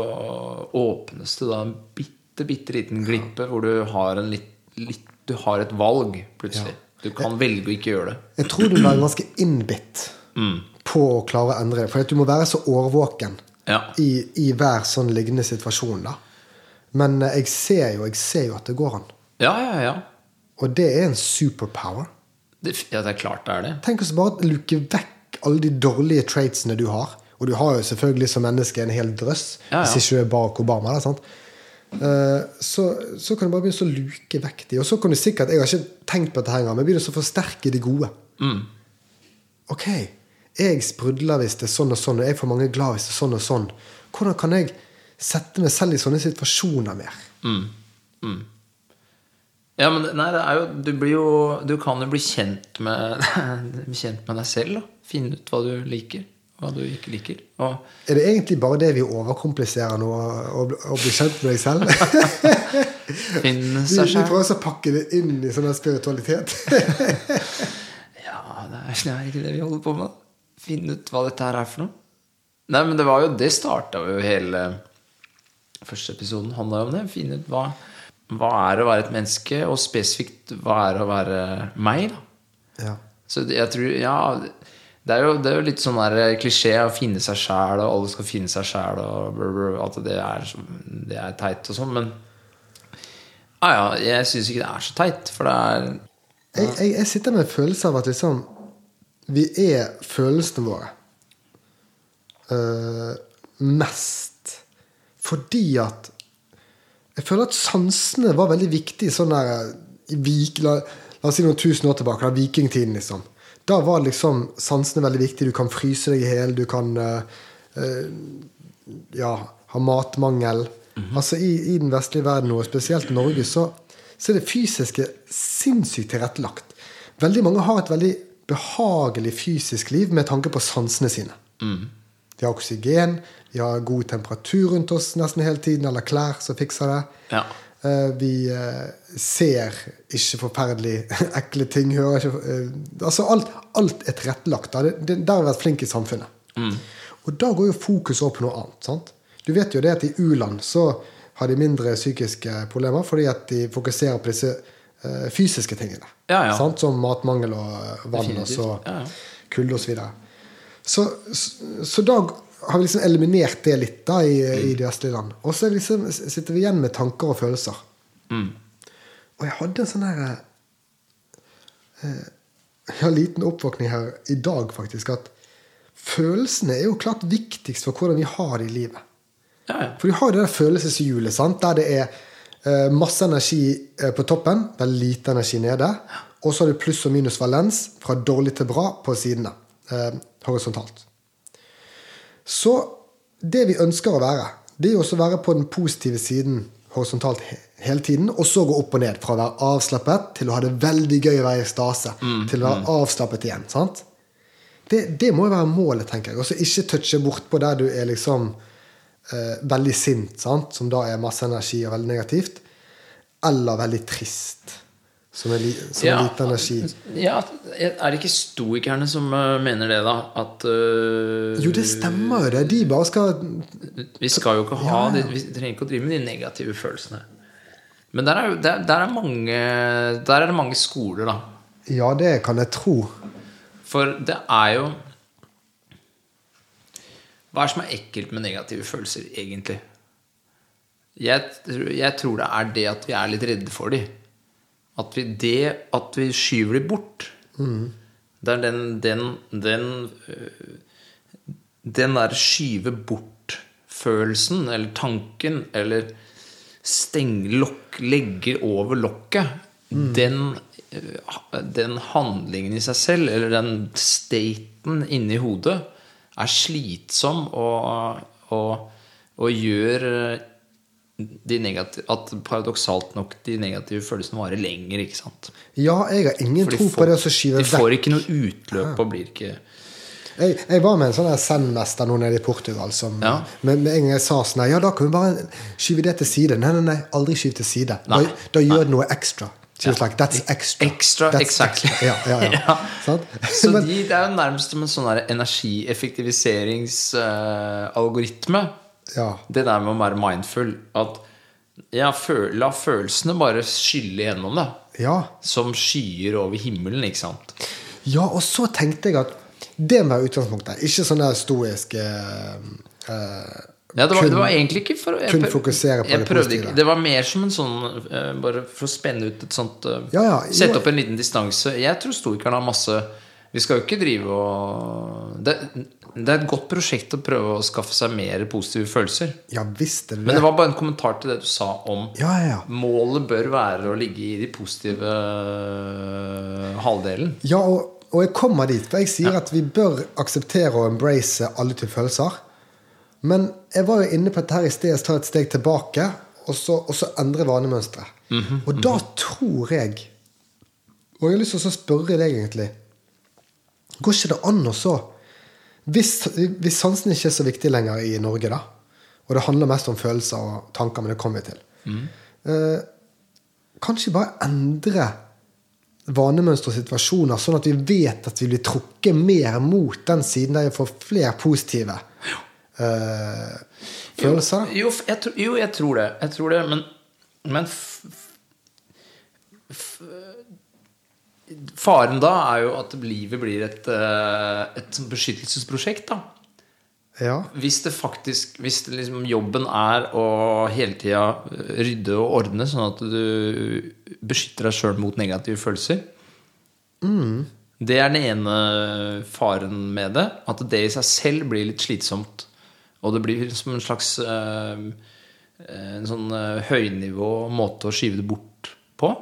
åpnes det da en bitte, bitte liten glippe hvor du har, en litt, litt, du har et valg, plutselig. Du kan velge å ikke gjøre det.
Jeg tror du må være ganske innbitt på å klare å endre det. For at du må være så årvåken
Ja.
i, i hver sånn lignende situasjon. da. Men eh, jeg ser jo, jeg ser jo at det går an.
Ja, ja, ja.
Og det er en superpower.
Det, ja, det er klart det er det.
Tenk oss bare å luke vekk alle de dårlige traitsene du har. Og du har jo selvfølgelig som menneske en hel drøss,
Ja, ja.
hvis ikke du er Barack Obama. Da, sant? Eh, Så, så kan du bare begynne å luke vekk de. Og så kan du sikkert Jeg har ikke tenkt på dette her engang, men begynne å forsterke de gode.
Mm.
Ok, jeg sprudler hvis det er sånn og sånn, og jeg får mange glad hvis det er sånn og sånn. Hvordan kan jeg sette meg selv i sånne situasjoner mer?
Mm. Ja, men det- nei, det er jo, du, blir jo, du kan jo bli kjent med, kjent med deg selv. Da. Finne ut hva du liker, hva du ikke liker. Og
Er det egentlig bare det vi overkompliserer nå, å bli- å bli kjent med deg selv?
finne
Vi,
seg
vi
selv.
prøver også å pakke det inn i sånn her spiritualitet.
Ja, det er, det er ikke det vi holder på med. Finne ut hva dette her er for noe. Nei, men det var jo Det starta jo hele første episoden handla om det. Finne ut hva, hva er å være et menneske, og spesifikt hva er å være meg, da.
ja.
Så det- jeg tror Ja, det er jo, det er jo litt sånn der klisjé å finne seg sjæl, og alle skal finne seg sjæl, og brr, brr, at det er, så- det er teit og sånn, men Ja, ja, jeg syns ikke det er så teit, for det er
jeg, jeg, jeg sitter med en følelse av at liksom Vi er følelsene våre eh, mest fordi at Jeg føler at sansene var veldig viktige sånn der eh, i vik, la, la oss si noen tusen år tilbake, da vikingtiden, liksom. Da var liksom sansene veldig viktige. Du kan fryse deg i hjel, du kan eh, ja, har matmangel. Altså i, i den vestlige verden, og spesielt i Norge, så, så er det fysiske sinnssykt tilrettelagt. Veldig mange har et veldig behagelig fysisk liv med tanke på sansene sine. De har oksygen, de har god temperatur rundt oss nesten hele tiden, eller klær som fikser det.
Ja.
Eh, Vi eh, ser ikke forferdelig ekle ting, hører ikke eh, Altså alt, alt er tilrettelagt. da. Det- det- Der har vi vært flinke i samfunnet.
Mm.
Og da går jo fokus over på noe annet. sant? Du vet jo det at i u-land så har de mindre psykiske problemer fordi at de fokuserer på disse eh, fysiske tingene.
Ja, ja.
Sant? Som matmangel og eh, vann og
Definitivt.
så
Ja, ja.
kulde osv. Så, videre. så, så, så da har vi liksom eliminert det litt da i,
Mm.
i de vestlige land. Og så er det liksom, sitter vi igjen med tanker og følelser.
Mm.
Og jeg hadde en sånn her eh, Jeg har en liten oppvåkning her i dag, faktisk. At følelsene er jo klart viktigst for hvordan vi har det i livet.
Ja, ja.
For du har jo det der følelseshjulet, sant? der det er eh, masse energi eh, på toppen, veldig lite energi nede, og så har du pluss og minus valens fra dårlig til bra på sidene, eh, horisontalt. Så det vi ønsker å være, det er jo også å være på den positive siden horisontalt he hele tiden, og så gå opp og ned, fra å være avslappet til å ha det veldig gøy å være i stase, til å være avslappet igjen, sant? Det, det må jo være målet, tenker jeg. Og så ikke touche bortpå der du er liksom eh, veldig sint, sant? som da er masse energi og veldig negativt, eller veldig trist, Som er, li, som er lite energi.
Mm. ja, er det ikke stoikerne som eh, mener det, da? At eh,
Jo, det stemmer jo det. De bare skal
Vi skal jo ikke ha de, Vi trenger ikke å drive med de negative følelsene. Men der er, jo- der, der er, mange, der er det mange skoler, da.
Ja, det kan jeg tro.
For det er jo Hva er det som er ekkelt med negative følelser, egentlig? Jeg, tr- jeg tror det er det at vi er litt redde for dem. At vi, det, at vi skyver dem bort. Det er den, den, den øh, Den der skyve bort-følelsen, eller tanken, eller stenge lokk, legger over lokket, den, øh, ha- den handlingen i seg selv, eller den staten inni hodet, er slitsom og, og, og gjør øh, de negative, at paradoksalt nok de negative følelsene varer lenger, ikke sant?
Ja, jeg har ingen
For de
tro
får-
på det å så skyve
De
vekk.
får ikke noe utløp og blir ikke
Jeg, jeg var med en sånn her Zen-mester nå nede i Portugal som
Ja.
Men med en gang jeg sa sånn her, Ja, da kan vi bare skyve det til side. Nei, nei, nei. Aldri skyv til side. Da,
Nei.
da gjør det noe ekstra. Så it's like, That's extra.
Extra,
That's
exactly.
extra. Ja, ja, ja.
Ja.
Sant?
Så
Men-
de, det er jo nærmest som en sånn der energieffektiviseringsalgoritme.
Ja.
Det der med å være mindful. At ja, fø- la følelsene bare skylle gjennom det.
ja.
Som skyer over himmelen, ikke sant.
Ja, og så tenkte jeg at det må være utgangspunktet. Ikke sånn der stoisk eh, eh,
Ja, det, var,
kun-
det var egentlig ikke for å- jeg
kun
prøv-
fokusere på
jeg
det
prøvde
positive.
Ikke, det var mer som en sånn eh, Bare for å spenne ut et sånt eh,
Ja, ja, jo.
Sette opp en liten distanse. Jeg tror stoikerne har masse Vi skal jo ikke drive og det, det er et godt prosjekt å prøve å skaffe seg mer positive følelser.
Ja visst er det
Men
det.
det var bare en kommentar til det du sa om
Ja, ja, ja.
Målet bør være å ligge i de positive eh, halvdelen.
Ja, og, og jeg kommer dit. For jeg sier at vi bør akseptere og embrace alle typer følelser. Men jeg var jo inne på dette her i sted, jeg tar et steg tilbake, og så, og så endre vanemønsteret. Og da tror jeg Og jeg har lyst til å så spørre deg, egentlig Går ikke det an å så hvis, hvis sansen ikke er så viktig lenger i Norge, da, og det handler mest om følelser og tanker, men det kommer vi til eh, Kanskje bare endre vanemønstre og situasjoner, sånn at vi vet at vi blir trukket mer mot den siden der vi får flere positive eh, følelser.
Jo, f- jeg, tro- jo, jeg tror det. Jeg tror det, men, men f, f, Faren da er jo at livet blir et, eh, et sånt beskyttelsesprosjekt, da.
Ja.
Hvis det faktisk Hvis det liksom jobben er å hele tida rydde og ordne, sånn at du beskytter deg sjøl mot negative følelser Det er den ene faren med det. At det i seg selv blir litt slitsomt. Og det blir som en slags eh, En sånn eh, høynivå måte å skyve det bort på.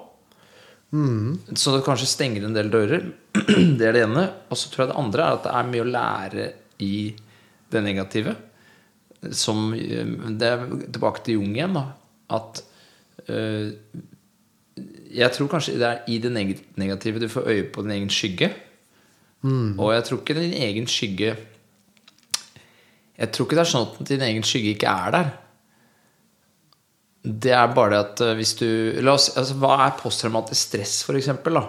Så det kanskje stenger en del dører. Det er det ene. Og så tror jeg det andre er at det er mye å lære i det negative. Som eh, Det er tilbake til Jung igjen, da. At eh, Jeg tror kanskje det er i det neg- negative du får øye på din egen skygge.
Mm.
Og jeg tror ikke din egen skygge Jeg tror ikke det er sånn at din egen skygge ikke er der. Det er bare det at eh, hvis du la oss, altså, Hva er posttraumatisk stress, for eksempel? Da?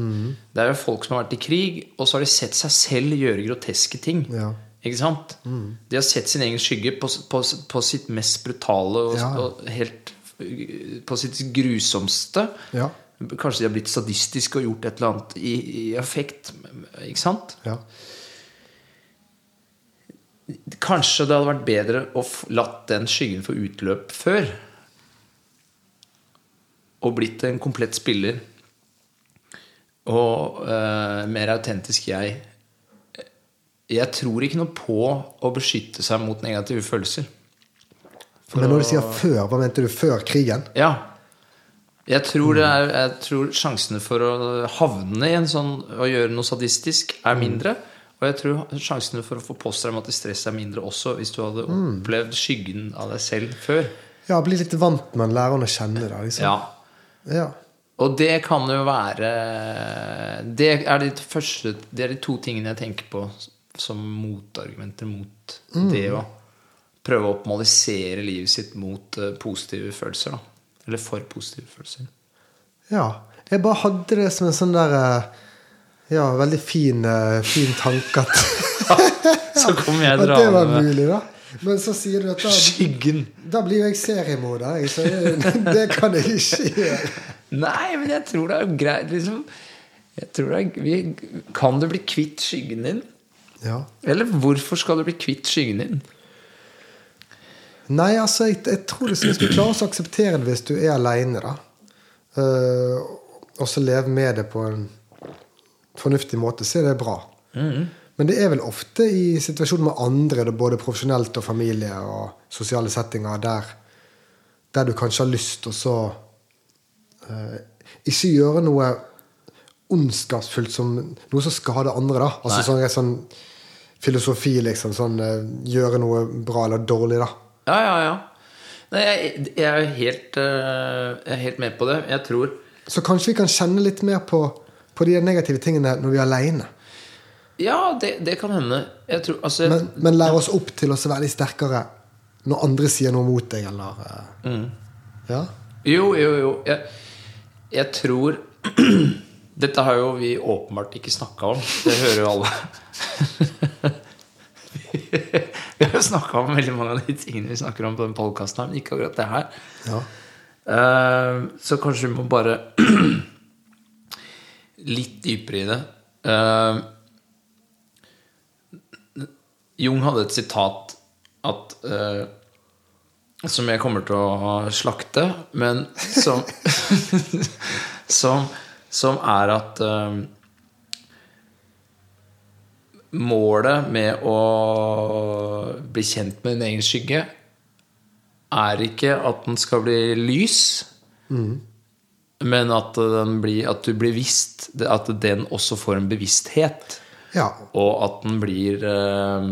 Mm.
Det er jo folk som har vært i krig, og så har de sett seg selv gjøre groteske ting.
Ja. Mm.
Ikke sant? De har sett sin egen skygge på, på, på sitt mest brutale og,
Ja, ja.
og helt eh, På sitt grusomste.
Ja.
Kanskje de har blitt sadistiske og gjort et eller annet i, i affekt. Ikke sant?
Ja.
Kanskje det hadde vært bedre å f- latt den skyggen få utløp før. Og blitt en komplett spiller. Og eh, mer autentisk jeg. Jeg tror ikke noe på å beskytte seg mot negative følelser.
Men når du sier før, hva mente du før krigen?
Ja. Jeg tror, det er, jeg tror sjansene for å havne i en sånn Å gjøre noe sadistisk er mindre. Og jeg tror sjansene for å få posttraumatisk stress er mindre også hvis du hadde opplevd skyggen av deg selv før.
Ja, bli litt vant med den, lære han å kjenne det. Liksom.
Ja.
Ja.
Og det kan jo være Det er de, første, det er de to tingene jeg tenker på som motargumenter mot
Mm.
det å prøve å optimalisere livet sitt mot eh, positive følelser. Da. Eller for positive følelser.
ja. Jeg bare hadde det som en sånn der eh, Ja, veldig fin, eh, fin tanke at
Så kom jeg
At det var
dra med
mulig, da. Men så sier du at da,
skyggen.
da blir jo jeg seriemorder, jeg, så det, det kan jeg ikke gjøre.
Nei, men jeg tror det er greit, liksom. Jeg tror det er, vi, kan du bli kvitt skyggen din?
Ja.
Eller hvorfor skal du bli kvitt skyggen din?
Nei, altså, jeg, jeg tror liksom hvis du klarer å akseptere det hvis du er aleine, da. Eh, og så leve med det på en fornuftig måte, så er det bra. Men det er vel ofte i situasjoner med andre, det er både profesjonelt og familie og sosiale settinger, der, der du kanskje har lyst til å så eh, Ikke gjøre noe ondskapsfullt som noe som skader andre, da. Altså sånn, sånn filosofi, liksom. Sånn eh, gjøre noe bra eller dårlig, da.
Ja, ja, ja. Nei, jeg, jeg er jo helt, eh, jeg er helt med på det. Jeg tror
Så kanskje vi kan kjenne litt mer på, på de negative tingene når vi er aleine.
Ja, det, det kan hende. Jeg tror, altså,
Men, men lære oss opp til å være litt sterkere når andre sier noe mot deg, eller eh,
Mm.
Ja?
Jo, jo, jo. Jeg, jeg tror Dette har jo vi åpenbart ikke snakka om. Det hører jo alle. vi har jo snakka om veldig mange av de tingene vi snakker om på den podkasten her, men ikke akkurat det her.
ja.
Eh, Så kanskje vi må bare litt dypere i det. Eh, Jung hadde et sitat at, eh, som jeg kommer til å slakte, men som som, som er at eh, Målet med å bli kjent med din egen skygge er ikke at den skal bli lys, men at, den blir, at du blir visst. At den også får en bevissthet.
ja.
Og at den blir eh,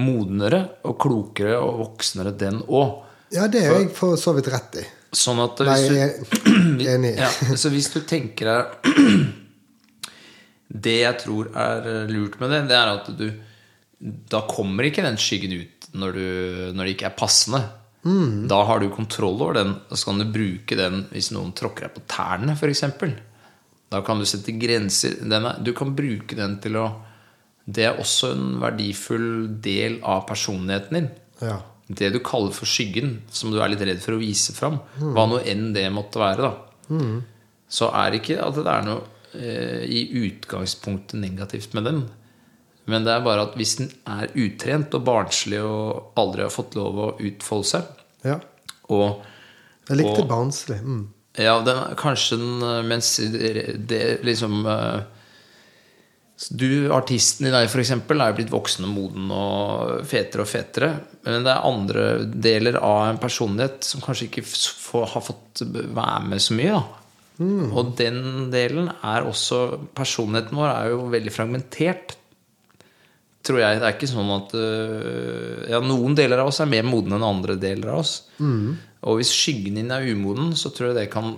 modnere og klokere og voksnere, den òg.
Ja, det er jeg for så vidt rett i.
Sånn at
Nei,
hvis du,
jeg er enig.
ja, så hvis du tenker deg Det jeg tror er lurt med det, det er at du Da kommer ikke den skyggen ut når, du, når det ikke er passende. Da har du kontroll over den, og så kan du bruke den hvis noen tråkker deg på tærne, f.eks. Da kan du sette grenser. Den er, du kan bruke den til å Det er også en verdifull del av personligheten din.
Ja.
Det du kaller for skyggen, som du er litt redd for å vise fram, hva nå enn det måtte være, da, så er ikke at det er noe eh, i utgangspunktet negativt med den. Men det er bare at hvis den er utrent og barnslig og aldri har fått lov å utfolde seg,
ja.
og
Jeg likte
Og-
barnslig. Mm.
ja, den, kanskje den eh, Mens det liksom eh, Du, artisten i deg for eksempel, er jo blitt voksen og moden og fetere og fetere. Men det er andre deler av en personlighet som kanskje ikke f- får, har fått være med så mye. da.
Mm.
Og den delen er også Personligheten vår er jo veldig fragmentert. Tror jeg, Det er ikke sånn at øh, ja, Noen deler av oss er mer modne enn andre deler av oss.
Mm.
Og hvis skyggen din er umoden, så tror jeg det kan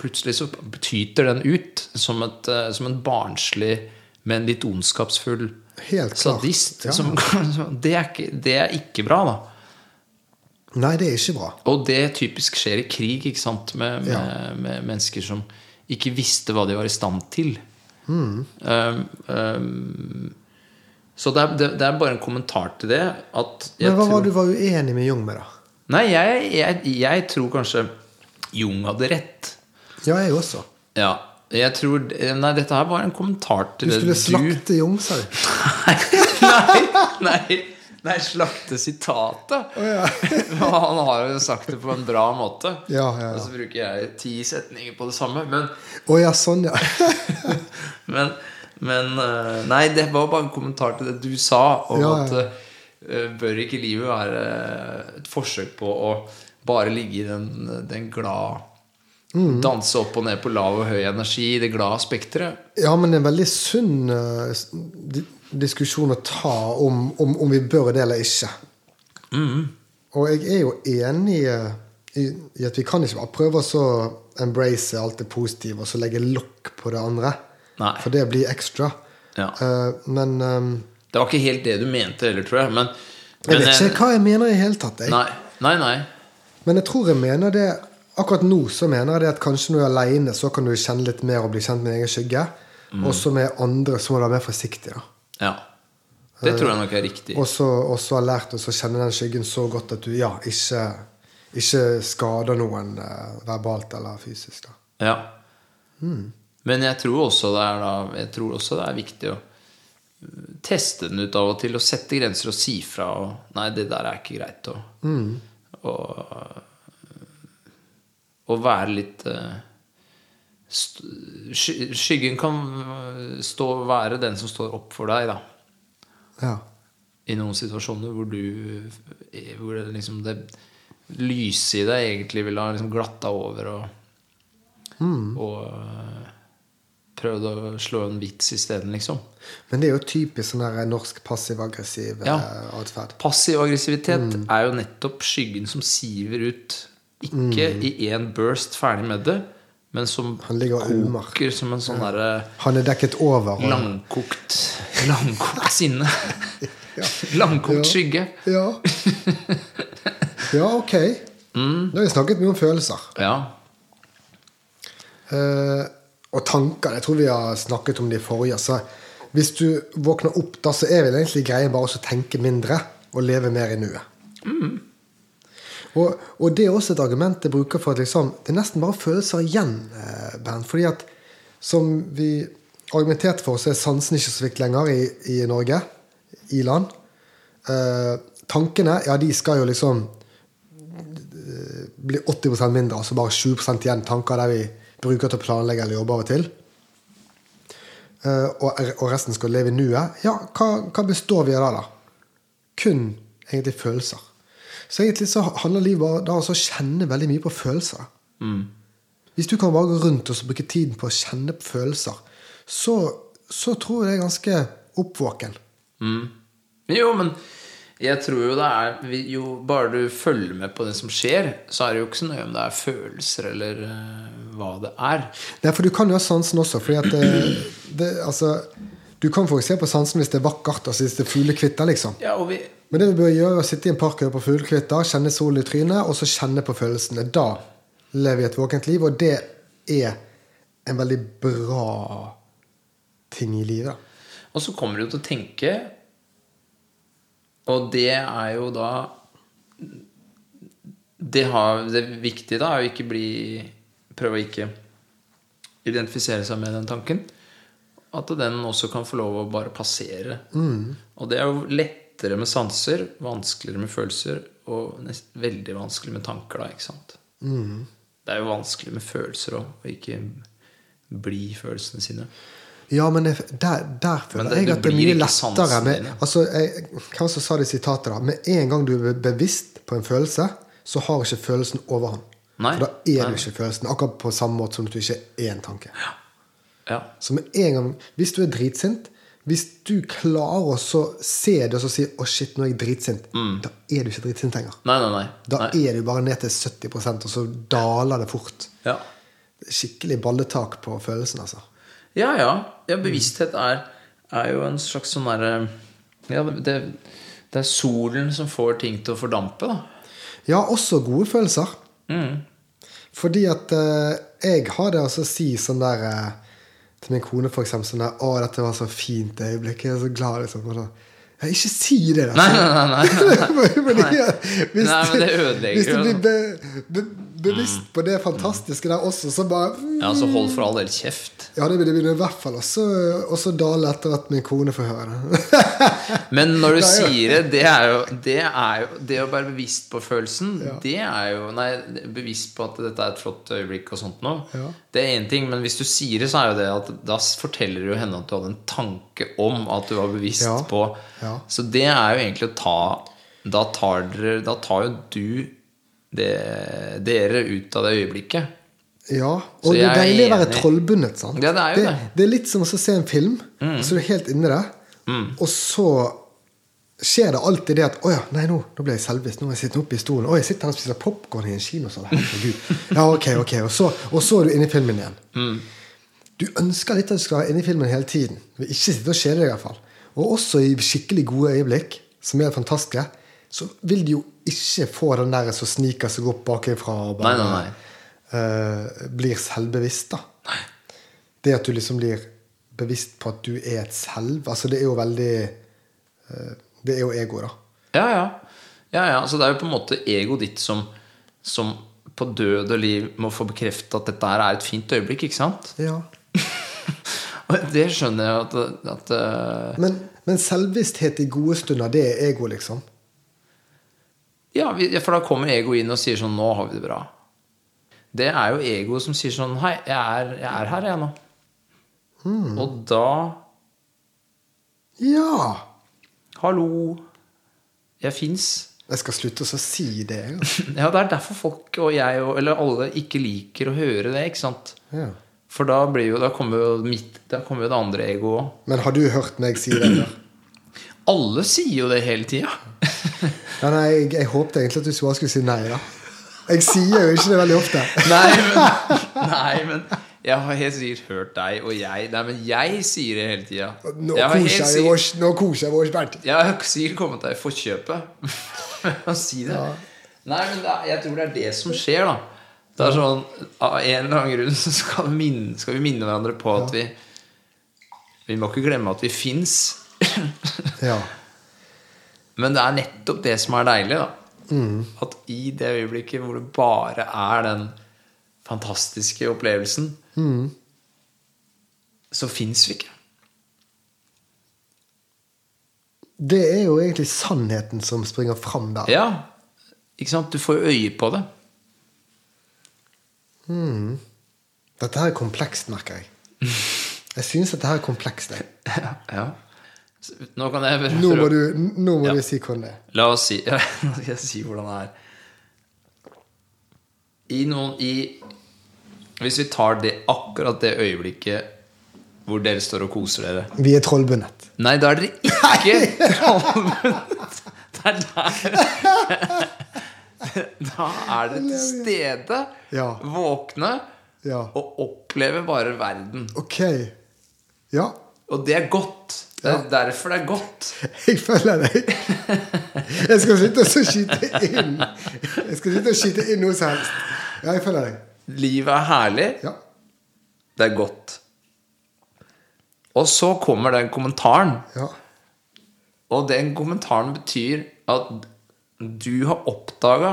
Plutselig så tyter den ut som, et, øh, som en barnslig, men litt ondskapsfull
Helt klart.
sadist.
Ja.
Som, det, er ikke, det er ikke bra, da.
Nei, det er ikke bra.
Og det typisk skjer i krig ikke sant? Med, med, med mennesker som ikke visste hva de var i stand til.
Mm.
Um, um, så det er, det, det er bare en kommentar til det. At jeg
Men hva
tror,
var det du var uenig med Jung med, da?
Nei, jeg, jeg, jeg tror kanskje Jung hadde rett.
Ja, jeg også.
Ja, jeg tror Nei, dette her var en kommentar
Du
til
skulle
det
slakte Jung, sa du.
nei, nei, nei, slakte sitatet. Og han har jo sagt det på en bra måte.
Ja, ja, ja.
Og så bruker jeg ti setninger på det samme. Men,
Å ja, sånn, ja.
men, men eh, Nei, det var bare en kommentar til det du sa om
Ja, ja.
at eh, bør ikke livet være et forsøk på å bare ligge i den, den glad
Mm.
Danse opp og ned på lav og høy energi i det glade spekteret?
Ja, men det er en veldig sunn eh, s- di- diskusjon å ta om, om, om vi bør det eller ikke.
Mm.
Og jeg er jo enig eh, i, i at vi kan ikke bare prøve å så embrace alt det positive og så legge lokk på det andre.
Nei.
For det blir ekstra.
Ja.
Eh, men eh,
Det var ikke helt det du mente heller, tror jeg. Men,
jeg
men,
vet
eh,
ikke hva jeg mener i det hele tatt. Jeg.
Nei, nei, nei.
Men jeg tror jeg mener det Akkurat nå så mener jeg det at kanskje når du er aleine, så kan du kjenne litt mer og bli kjent med din egen skygge.
Mm.
Og så med andre så må du være mer forsiktig. da.
Ja. Det tror jeg nok er riktig.
Og så og så har lært oss å kjenne den skyggen så godt at du ja, ikke, ikke skader noen eh, verbalt eller fysisk. da.
Ja. Men jeg tror også det er da Jeg tror også det er viktig å eh, teste den ut av og til og sette grenser og si fra og Nei, det der er ikke greit. Og, og, og være litt eh, st- sky- Skyggen kan eh, stå, være den som står opp for deg, da
Ja.
i noen situasjoner hvor du hvor det, liksom, det lyse i deg egentlig ville ha liksom glatta over og, og øh, prøvd å slå en vits isteden, liksom.
Men det er jo typisk sånn her norsk passiv-aggressiv
Ja.
eh, atferd.
Passiv aggressivitet er jo nettopp skyggen som siver ut. Ikke i én burst ferdig med det, men som
Han ligger og ulmer.
koker som en sånn derre
Han er dekket over. og-
langkokt Langkokt sinne. Langkokt skygge.
Ja. ja, ok.
Mm.
Da har vi snakket mye om følelser.
Ja.
Eh, og tanker. Jeg tror vi har snakket om det i forrige. Så hvis du våkner opp, da, så er vel egentlig greia bare å tenke mindre og leve mer i nuet. Og, og det er også et argument jeg bruker for at liksom, det er nesten bare følelser igjen. Eh, Bernt. Fordi at som vi argumenterte for, så er sansen ikke så viktig lenger i, i Norge. I land. Eh, tankene, ja, de skal jo liksom blir 80 mindre, altså bare 20 igjen tanker der vi bruker til å planlegge eller jobbe av og til. Eh, og, og resten skal leve i nuet. Ja, hva, hva består vi av da, da? Kun egentlig følelser. Så egentlig så handler livet bare da altså å kjenne veldig mye på følelser. Hvis du kan bare gå rundt og så bruke tiden på å kjenne på følelser, så, så tror jeg det er ganske oppvåken.
Jo, men jeg tror jo det er vi- Jo bare du følger med på det som skjer, så er det jo ikke så nøye om det er følelser eller eh, hva det er.
Nei, for du kan jo ha sansen også. Fordi at det, det, altså, du kan faktisk se på sansen hvis det er vakkert, altså hvis det er fuglekvitter. liksom.
Ja, og vi
Men det vi bør gjøre, er å sitte i en park og høre på fuglekvitter, kjenne solen i trynet, og så kjenne på følelsene. Da lever vi et våkent liv, og det er en veldig bra ting i livet. da.
Og så kommer du jo til å tenke, og det er jo da Det, har, det viktige da er jo ikke bli Prøve å ikke identifisere seg med den tanken. At den også kan få lov å bare passere. Og det er jo lettere med sanser, vanskeligere med følelser og nest, veldig vanskelig med tanker. da, ikke sant? Det er jo vanskelig med følelser òg, å ikke bli følelsene sine.
Ja, men det, der, der føler
Men det-
jeg
det
at det er
blir
mye
ikke
lettere
sansen
med
dine.
altså, jeg, Hvem som sa det sitatet, da? Med en gang du er bevisst på en følelse, så har ikke følelsen overhånd.
Nei.
For da er
Nei.
du ikke følelsen. Akkurat på samme måte som at du ikke er en tanke.
Ja.
Så med en gang, Hvis du er dritsint Hvis du klarer å så se det og så si 'Å, shit, nå er jeg dritsint', da er du ikke dritsint lenger.
Nei, nei, nei.
Da
Mm. nei.
er du bare ned til 70 og så daler det fort.
Ja.
Skikkelig balletak på følelsen, altså.
Ja, ja. ja bevissthet er, er jo en slags sånn derre ja, det, det er solen som får ting til å fordampe, da. Mm.
Ja, også gode følelser. Fordi at eh, jeg har det altså å si sånn der eh, til min kone, for eksempel, sånn der 'Å, dette var så fint øyeblikk. Jeg er så glad', liksom. Og da, ja, ikke si det, da!
Nei, nei, nei. nei.
Fordi at hvis,
Nei, men det ødelegger
hvis du
jo.
blir be, be, bevisst på det fantastiske der også, så bare mm,
Ja, så hold for all del kjeft.
Ja, det begynner i hvert fall også, også dale etter at min kone får høre det.
Men når du
Nei, ja.
sier det, det er jo det, er jo, det å være bevisst på følelsen, det er jo Nei, bevisst på at dette er et flott øyeblikk og sånt noe,
Ja.
det er én ting, men hvis du sier det, så er jo det at da s- forteller du jo henne at du hadde en tanke om at du var bevisst
Ja.
på
Ja.
Så det er jo egentlig å ta Da tar, dere, da tar jo du det, dere ut av det øyeblikket.
Ja,
Så
og det
jeg
er
er
deilig å være
enig.
trollbundet. sant?
Ja, det er jo det. Mm.
det er litt som å se en film, så du er helt inni det, og så skjer det alltid det at 'Å ja, nei, nå, nå ble jeg selvbevisst. Nå må jeg sitte oppe i stolen.' 'Å, jeg sitter her og spiser popkorn i en kinosal.' Herregud. Ja, ok, ok. Og så, og så er du inne i filmen igjen.
Mm.
Du ønsker litt at du skal være inne i filmen hele tiden. Du vil ikke sitte og kjede deg, i hvert fall. Og også i skikkelig gode øyeblikk, som er fantastiske, så vil du jo ikke få den der som sniker seg opp bakifra. og
Nei, nei, nei.
eh, blir selvbevisst. da. Det at du liksom blir bevisst på at du er et selv, altså det er jo veldig eh, Det er jo ego, da.
Ja, ja. ja, ja. Så det er jo på en måte egoet ditt som, som på død og liv må få bekrefte at dette her er et fint øyeblikk, ikke sant?
Ja.
Og det skjønner jeg at, at eh,
Men, men selvbevissthet i gode stunder, det er ego, liksom.
Ja, vi- for da kommer ego inn og sier sånn Nå har vi det bra. Det er jo ego som sier sånn Hei, jeg er, jeg er her, jeg nå. Og da
Ja!
Hallo. Jeg fins.
Jeg skal slutte å si det. jeg, altså.
Ja, det er derfor folk og jeg og eller alle ikke liker å høre det, ikke sant?
Ja.
For da, blir jo, da, kommer jo mitt, da kommer jo det andre egoet òg.
Men har du hørt meg si det? Eller?
Alle sier jo det hele tida.
Ja, nei, jeg, jeg håpte egentlig at du bare skulle si nei, da. Jeg sier jo ikke det veldig ofte.
nei, men, nei, men jeg har helt sikkert hørt deg og jeg Nei, men jeg sier det hele tida.
Nå
Jeg har helt
koser jeg
sikkert-
vårs, nå koser jeg vårs, Bernt.
Jeg har sikkert kommet deg i forkjøpet å si det. Nei, men det, er- jeg tror det er det som skjer, da. Det er sånn, Av en eller annen grunn så skal vi minne, skal vi minne hverandre på at vi Vi må ikke glemme at vi fins.
Ja.
Men det er nettopp det som er deilig, da.
Mm.
At i det øyeblikket hvor det bare er den fantastiske opplevelsen,
Mm.
så fins vi ikke.
Det er jo egentlig sannheten som springer fram der.
Ja, ikke sant? Du får jo øye på det.
Dette her er komplekst, merker jeg. Jeg synes dette her er komplekst. Jeg.
ja. Så Nå kan jeg bare
Nå må
prøve-
du, nå må
Ja.
du si hvordan det er.
La oss si Nå skal jeg si hvordan det er. I noen i, Hvis vi tar det akkurat det øyeblikket hvor dere står og koser dere
Vi er trollbundet.
Nei, da er dere ikke trollbundet. Det er der Da er dere til stede,
Ja.
våkne
Ja.
og opplever bare verden.
Ok. Ja,
Og det er godt. Det er derfor det er godt.
jeg følger deg. Jeg skal sitte og så skyte inn Jeg skal sitte og skyte inn noe som helst. Ja, jeg følger deg.
Livet er herlig.
Ja.
Det er godt. Og så kommer den kommentaren,
ja.
og den kommentaren betyr at du har oppdaga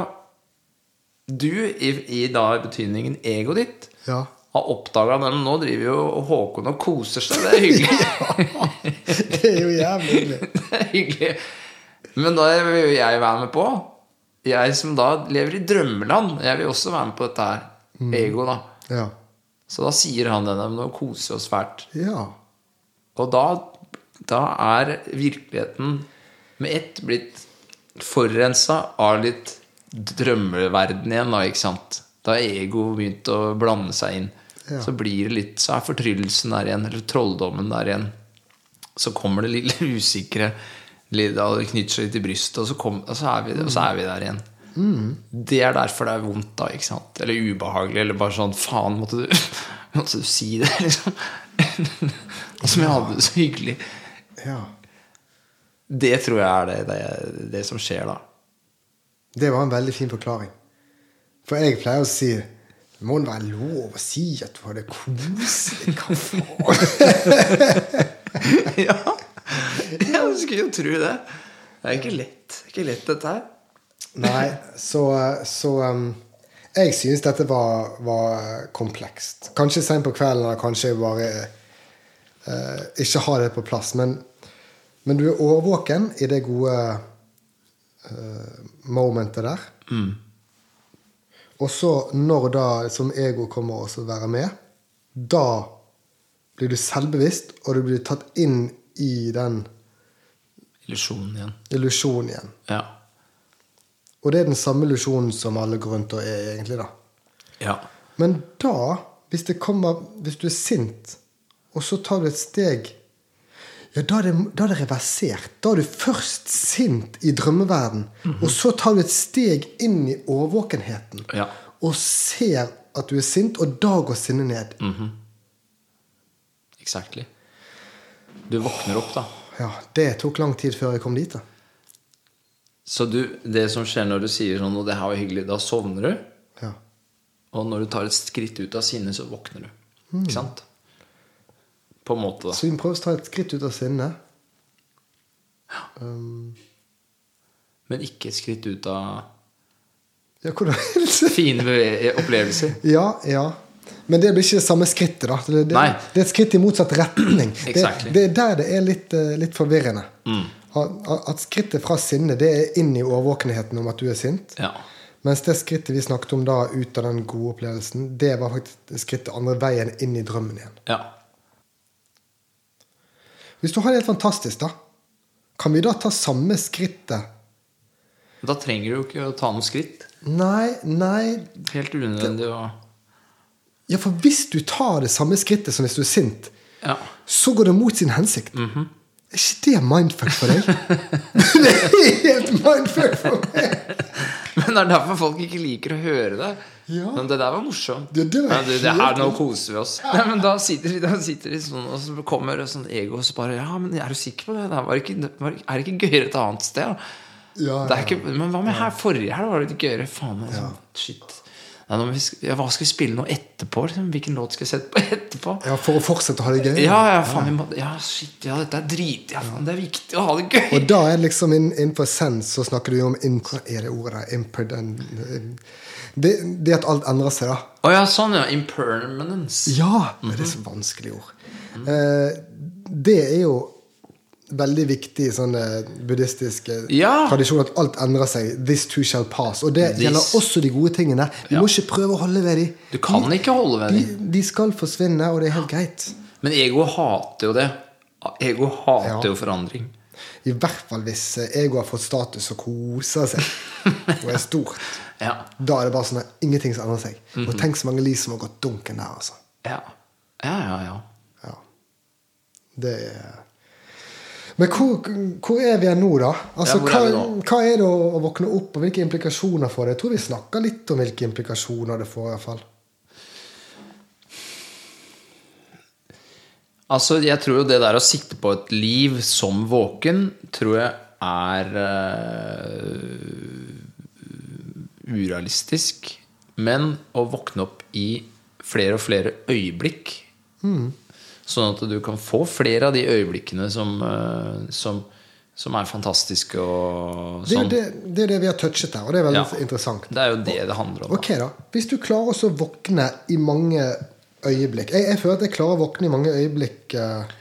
Du, i, i da betydningen egoet ditt,
Ja.
har oppdaga den. Nå driver jo Håkon og koser seg. Det er hyggelig.
Det er jo jævlig hyggelig.
det er hyggelig. Men da vil jo jeg være med på. Jeg som da lever i drømmeland, jeg vil også være med på dette her. Ego, da.
Ja.
Så da sier han denne, nå koser vi oss fælt.
ja.
Og da, da er virkeligheten med ett blitt forurensa av litt drømmeverden igjen, da, ikke sant? Da er ego begynt å blande seg inn.
Ja.
Så blir det litt, så er fortryllelsen der igjen, eller trolldommen der igjen. Så kommer det lille usikre, lille, det knytter seg litt i brystet, og så, kom, og så, er, vi, og så er vi der igjen. Mm. Det er derfor det er vondt, da. ikke sant? Eller ubehagelig. Eller bare sånn Faen, måtte du, måtte du si det? liksom Og som jeg hadde det så hyggelig.
ja.
Det tror jeg er det, det, det som skjer da.
Det var en veldig fin forklaring. For jeg pleier å si det må da være lov å si at du hadde koselig kaffe.
ja, jeg skulle jo tro det. Det er ikke lett, det er ikke lett dette her.
Nei, så, så um, Jeg synes dette var, var komplekst. Kanskje sent på kvelden, eller kanskje jeg bare eh, ikke har det på plass. Men, men du er årvåken i det gode eh, momentet der. Og så, når da som ego kommer og så være med, da blir du selvbevisst, og du blir tatt inn i den
Illusjonen igjen.
illusjonen igjen.
Ja.
Og det er den samme illusjonen som alle går rundt og er, egentlig. da.
ja.
Men da, hvis, det kommer, hvis du er sint, og så tar du et steg ja, da, er det, da er det reversert. Da er du først sint i drømmeverden, og så tar du et steg inn i årvåkenheten
Ja.
og ser at du er sint, og da går sinnet ned.
Exactly. Du våkner opp, da.
Ja, Det tok lang tid før jeg kom dit. da.
Så du, det som skjer når du sier sånn, og det her var hyggelig, da sovner du?
Ja.
Og når du tar et skritt ut av sinne, så våkner du. Ikke sant? På en måte, da.
Så vi må prøve å ta et skritt ut av sinnet.
Men ikke et skritt ut av
Ja, hvordan
fine beve- opplevelser.
Ja, ja. Men det blir ikke det samme skrittet, da. Det, det,
Nei.
det er et skritt i motsatt retning.
Exactly. Mm.
Det, det er der det er litt, eh, litt forvirrende. At, at skrittet fra sinne, det er inn i årvåkenheten om at du er sint.
Ja.
Mens det skrittet vi snakket om da, ut av den gode opplevelsen, det var faktisk skrittet andre veien inn i drømmen igjen.
ja.
Hvis du har det helt fantastisk, da, kan vi da ta samme skrittet
Da trenger du jo ikke å ta noen skritt.
Nei, nei
Helt unødvendig å
Ja, for hvis du tar det samme skrittet som hvis du er sint,
Ja.
så går det mot sin hensikt.
Mhm.
Er ikke det mindfuck for deg? det er helt mindfuck for meg!
Men det er derfor folk ikke liker å høre det.
Ja.
Men det der var morsomt.
Det- det var
Nei, det, det
helt-
her, nå koser vi oss. Nei, men da sitter de, da sitter de sånn, og så kommer det sånn ego og så bare Ja, men er du sikker på det? Det var ikke, var, er det ikke gøyere et annet sted? da?
Ja,
Det er ikke, men hva med her forrige helg? Var det litt gøyere? Faen, jeg, sånn, shit. Nei, nå må vi, sk- ja, hva skal vi spille nå etterpå? liksom? Hvilken låt skal vi sette på etterpå?
ja, for å fortsette å ha det gøy.
Ja, ja, faen, vi må, ja, shit, ja, dette er drit. Ja, faen, det er viktig å ha det gøy.
Og da er det liksom inn- innenfor sens så snakker du jo om in- Hva er det ordet der? Imperdent det, det at alt endrer seg, da.
Å ja, sånn, ja. Impermanence.
Ja! men Det er så vanskelige ord.
Mhm.
Eh, det er jo veldig viktig i sånne buddhistiske
Ja.
tradisjoner at alt endrer seg. This too shall pass. Og det
This-
gjelder også de gode tingene. Vi må ikke prøve å holde ved dem.
Du kan ikke holde ved
de,
dem.
de skal forsvinne, og det er helt greit.
Men ego hater jo det. Ego hater
Ja.
jo forandring.
I hvert fall hvis eh, ego har fått status og koser seg og er stort.
Ja.
Da er det bare sånn at ingenting som endrer seg.
Mhm.
Og tenk så mange liv som har gått dunken der, altså.
Ja, ja, ja. ja.
Ja. Det er Men hvor, hvor er vi her nå, da? Altså,
Ja, hvor
hva,
er vi nå?
hva er det å, å våkne opp, og hvilke implikasjoner får det? Jeg tror vi snakker litt om hvilke implikasjoner det får, i hvert fall.
Altså, jeg tror jo det der å sikte på et liv som våken, tror jeg er eh, urealistisk. Men å våkne opp i flere og flere øyeblikk,
Mm.
sånn at du kan få flere av de øyeblikkene som, eh, som, som er fantastiske
Det
og
er
sånn.
jo det, det, er det vi har touchet her, og det er veldig
Ja.
interessant.
Det er jo det det handler om. da.
Ok, da. Hvis du klarer også å våkne i mange øyeblikk jeg, jeg føler at jeg klarer å våkne i mange øyeblikk eh,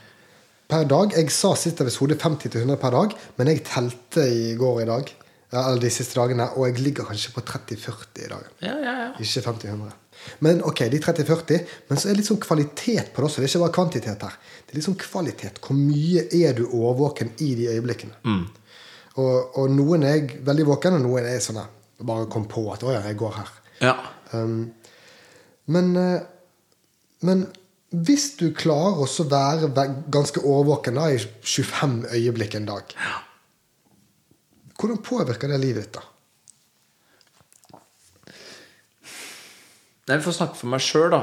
per dag. Jeg sa sist jeg hodet 50-100 per dag, men jeg telte i går og i dag. ja, Eller de siste dagene, og jeg ligger kanskje på 30-40 i dag.
Ja, ja, ja.
Ikke 50-100. Men ok, de 30-40. Men så er det litt sånn kvalitet på det også. Det er ikke bare kvantitet her. Det er litt sånn kvalitet. Hvor mye er du årvåken i de øyeblikkene? Og, og noen er jeg veldig våken, og noen er jeg sånn der bare kom på at å ja, jeg går her.
ja.
Men, eh, men hvis du klarer også å være ve- ganske årvåken da, i 25 øyeblikk en dag, hvordan påvirker det livet ditt da?
Nei, Jeg får snakke for meg sjøl, da.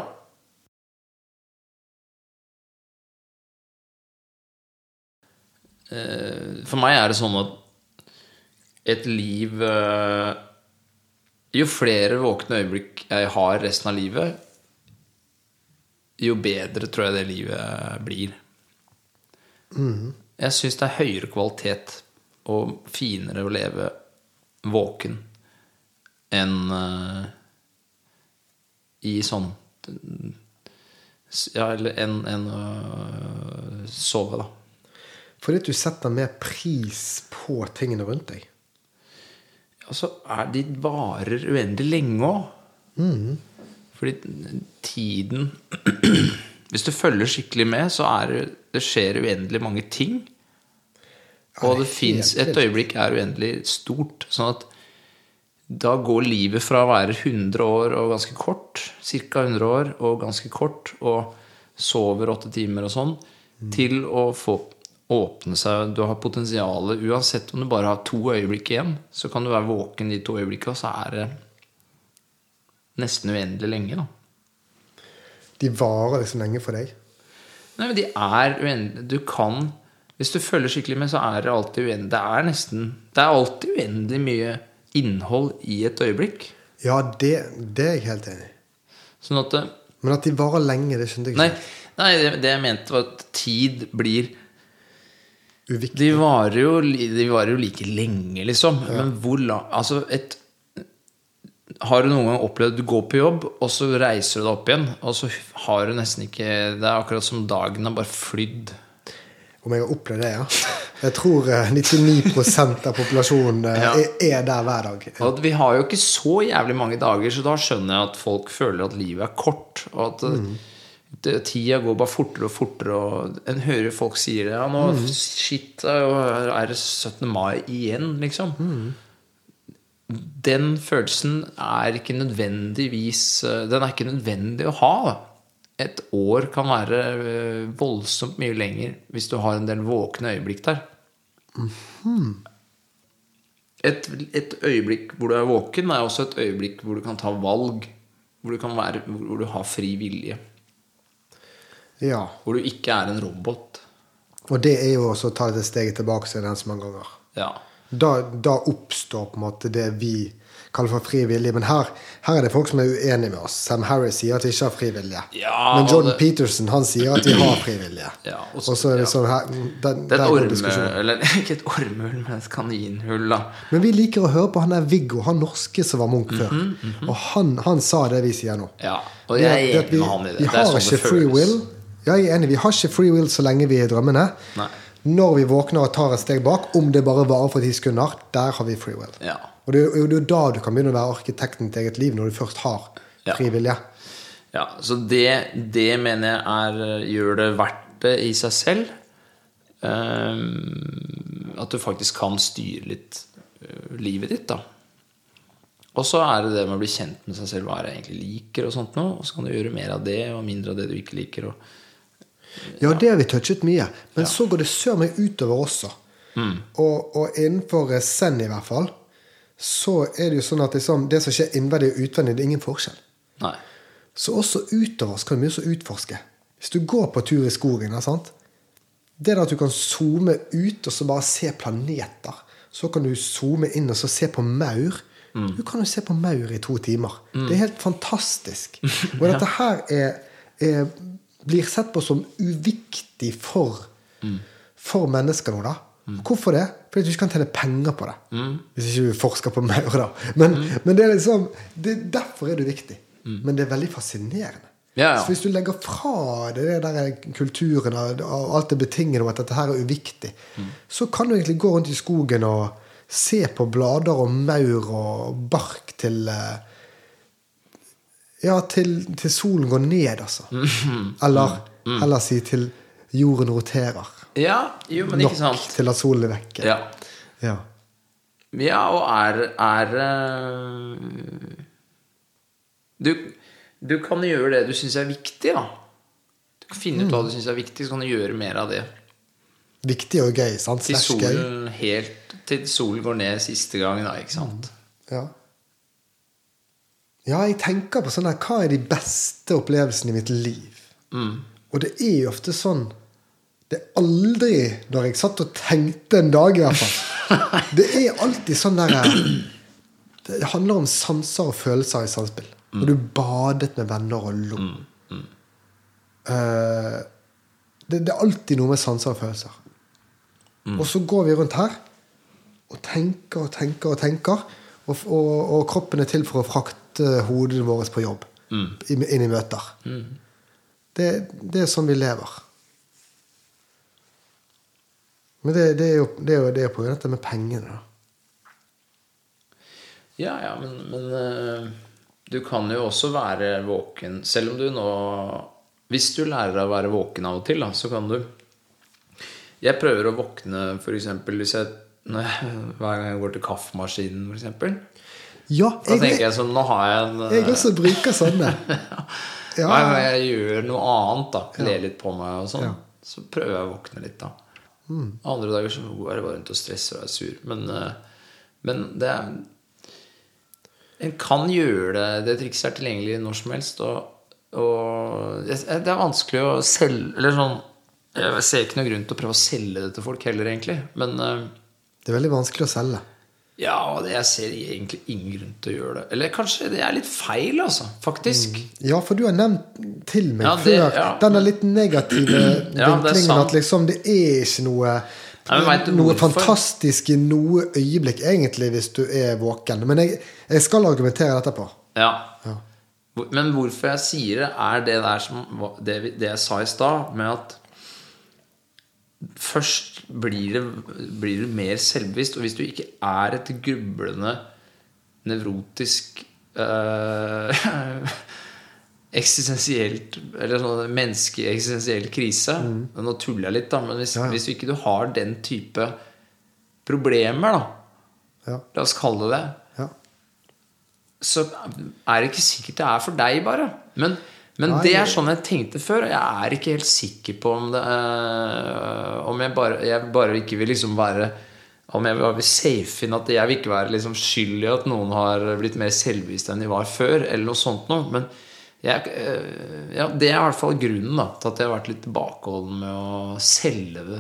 Eh, For meg er det sånn at et liv eh, Jo flere våkne øyeblikk jeg har resten av livet, jo bedre tror jeg det livet eh, blir. Jeg syns det er høyere kvalitet og finere å leve våken enn eh, i sånn Ja, eller enn enn å sove, da.
Fordi at du setter mer pris på tingene rundt deg.
Og så er de varer uendelig lenge òg. Fordi tiden Hvis du følger skikkelig med, så er det, det skjer uendelig mange ting. Og det fins
helt
Et
vilt.
øyeblikk er uendelig stort. Sånn at da går livet fra å være 100 år og ganske kort, ca. 100 år og ganske kort, og sover åtte timer og sånn,
Mm.
til å få åpne seg. Du har potensialet. Uansett om du bare har to øyeblikk igjen, så kan du være våken de to øyeblikkene, og så er det nesten uendelig lenge, da.
De varer liksom lenge for deg.
Nei, men de er uendelige. Du kan Hvis du følger skikkelig med, så er det alltid uendelig. Det er nesten Det er alltid uendelig mye innhold i et øyeblikk.
Ja, det, det er jeg helt enig i.
Sånn at eh,
Men at de varer lenge, det skjønte jeg
Nei,
ikke.
nei det, det jeg mente, var at tid blir
Uviktig.
De varer jo, li- de varer jo like lenge, liksom. Men hvor lang Altså, et Har du noen gang opplevd du går på jobb, og så reiser du deg opp igjen, og så har du nesten ikke Det er akkurat som dagen har bare flydd.
Om jeg har opplevd det, ja. Jeg tror eh, 99 av populasjonen eh,
Ja.
er, er der hver dag.
Og at vi har jo ikke så jævlig mange dager, så da skjønner jeg at folk føler at livet er kort. Og at eh, det, tida går bare fortere og fortere. Og en hører folk sier det. Ja, nå shit, det er jo- er det 17. mai igjen, liksom. Den følelsen er ikke nødvendigvis eh, Den er ikke nødvendig å ha. da. Et år kan være eh, voldsomt mye lenger hvis du har en del våkne øyeblikk der et, et øyeblikk hvor du er våken, er også et øyeblikk hvor du kan ta valg. Hvor du, kan være, hvor du har fri vilje.
Ja.
Hvor du ikke er en robot.
Og det er jo også å ta det steget tilbake så er det den som mange ganger.
Ja.
Da, da oppstår på en måte det vi kaller for fri vilje. Men her, her er det folk som er uenige med oss. Sam Harris sier at vi ikke har fri vilje.
Ja,
Men Jordan
og det-
Peterson han sier at vi har fri vilje.
Ja, og
og,
så-
så, er det
ja.
sånn her mm, den, der
Det er eh, et
går
orme...
diskusjonen.
Eller ikke et ormehull, men et kaninhull, da.
Men vi liker å høre på han der Viggo, han norske som var Munch før. Og han, han sa det vi sier nå.
Ja, Mhm, og
Det at-
jeg
det
er
at vi-
enig med han i det.
Vi
Det er
har
sånn det
ikke free
føles.
will. Ja, jeg er enig, vi har ikke free will så lenge vi er i drømmene.
Nei.
Når vi våkner og tar et steg bak, om det bare varer for ti sekunder, der har vi free will.
Ja.
Og det er jo det er jo da du kan begynne å være arkitekten til eget liv, når du først har
Ja.
fri vilje.
Ja, så det, det mener jeg er, eh, gjør det verdt det i seg selv. Ehm, at du faktisk kan styre litt eh, livet ditt, da. Og så er det det med å bli kjent med seg selv, hva er det jeg egentlig liker, og sånt noe. Og så kan du gjøre mer av det, og mindre av det du ikke liker. Og...
Ja, det har vi touchet mye. Men så går det sør meg utover også. Og, og innenfor eh, Zen, i hvert fall, så er det jo sånn at liksom, det som skjer innvendig og utvendig, det er ingen forskjell.
Nei.
Så også utover så kan du mye så utforske. Hvis du går på tur i skogen, da, sant? det er da at du kan zoome ut og så bare se planeter. Så kan du zoome inn og så se på maur.
Mm.
Du kan jo se på maur i to timer. Det er helt fantastisk. Og dette her er, er, blir sett på som uviktig for,
Mm.
for mennesker nå, da. Hvorfor det? Fordi du ikke kan tjene penger på det.
Mm.
Hvis ikke du forsker på maur, da. Men, men det er liksom, det, derfor er det viktig. Men det er veldig fascinerende.
Mm. Ja, ja.
Så hvis du legger fra deg det der kulturen og og alt det betingende om at dette her er uviktig,
Mm.
så kan du egentlig gå rundt i skogen og se på blader og maur og bark til eh, Ja, til, til solen går ned, altså.
Mm.
Eller, eller si til jorden roterer.
Ja, jo, men
Nok
ikke sant.
til at solen er vekke.
Ja,
Ja.
ja og er, er eh, du, du kan gjøre det du syns er viktig, da. Du kan finne ut hva du syns er viktig, så kan du gjøre mer av det.
Viktig og gøy, sant?
Til
Slash gøy.
solen, helt, til solen går ned siste gang, da, ikke sant?
Mm. Ja. ja, jeg tenker på sånn her Hva er de beste opplevelsene i mitt liv? Og det er jo ofte sånn Det er aldri når jeg satt og tenkte en dag, i hvert fall. Det er alltid sånn der eh, Det handler om sanser og følelser i samspill. Når du badet med venner og lo. Eh, det, det er alltid noe med sanser og følelser. Og så går vi rundt her og tenker og tenker og tenker. Og, og, og kroppen er til for å frakte hodet vårt på jobb.
Mm.
Inn, inn i møter. Det, det er sånn vi lever. Men det, det er jo det, er jo, det er på grunn av dette med pengene. da.
Ja, ja, men, men eh, du kan jo også være våken, selv om du nå Hvis du lærer deg å være våken av og til, da, så kan du Jeg prøver å våkne, for eksempel, hvis jeg, når jeg, hver gang jeg går til kaffemaskinen, for eksempel.
Ja,
Da
jeg,
tenker jeg sånn Nå har jeg en eh,
jeg også bruker sånne. Ja,
Hver gang jeg gjør noe annet, da, ler litt på meg og sånn,
Ja. Mm.
så prøver jeg å våkne litt, da. Andre dager så går jeg bare rundt og stresser og er sur. Men, eh, men det er En kan gjøre det. Det trikset er tilgjengelig når som helst. Og, og det det er vanskelig å selge Eller sånn Jeg ser ikke noen grunn til å prøve å selge det til folk heller, egentlig. Men eh,
Det er veldig vanskelig å selge.
Ja, og det- jeg ser egentlig ingen grunn til å gjøre det. Eller kanskje det er litt feil, altså. Faktisk.
Ja, for du har nevnt til meg
Ja, det-
før
ja.
denne litt negative
Ja, det er
vinklingen
sant.
at liksom det er ikke noe
Nei, men vet du
noe
hvorfor?
fantastisk i noe øyeblikk, egentlig, hvis du er våken. Men jeg, jeg skal argumentere dette på.
Ja. Hvor- Men hvorfor jeg sier det, er det der som var- Det, vi- det jeg sa i stad, med at først blir, det, blir du mer selvbevisst. Og hvis du ikke er et grublende, nevrotisk eh, Eksistensielt Eller sånn menneskeeksistensiell krise. Nå tuller jeg litt, da, men hvis, hvis ikke du har den type problemer, da,
Ja.
la oss kalle det det
Ja.
så er det ikke sikkert det er for deg, bare. Men, men
Nei.
det er sånn jeg tenkte før. og Jeg er ikke helt sikker på om det øh, Om jeg bare, jeg bare ikke vil liksom være Om jeg bare vil safe inn at jeg vil ikke være liksom skyld i at noen har blitt mer selvbevisst enn de var før, eller noe sånt noe. Men jeg, øh, ja, det er i hvert fall grunnen da, til at jeg har vært litt tilbakeholden med å selge det.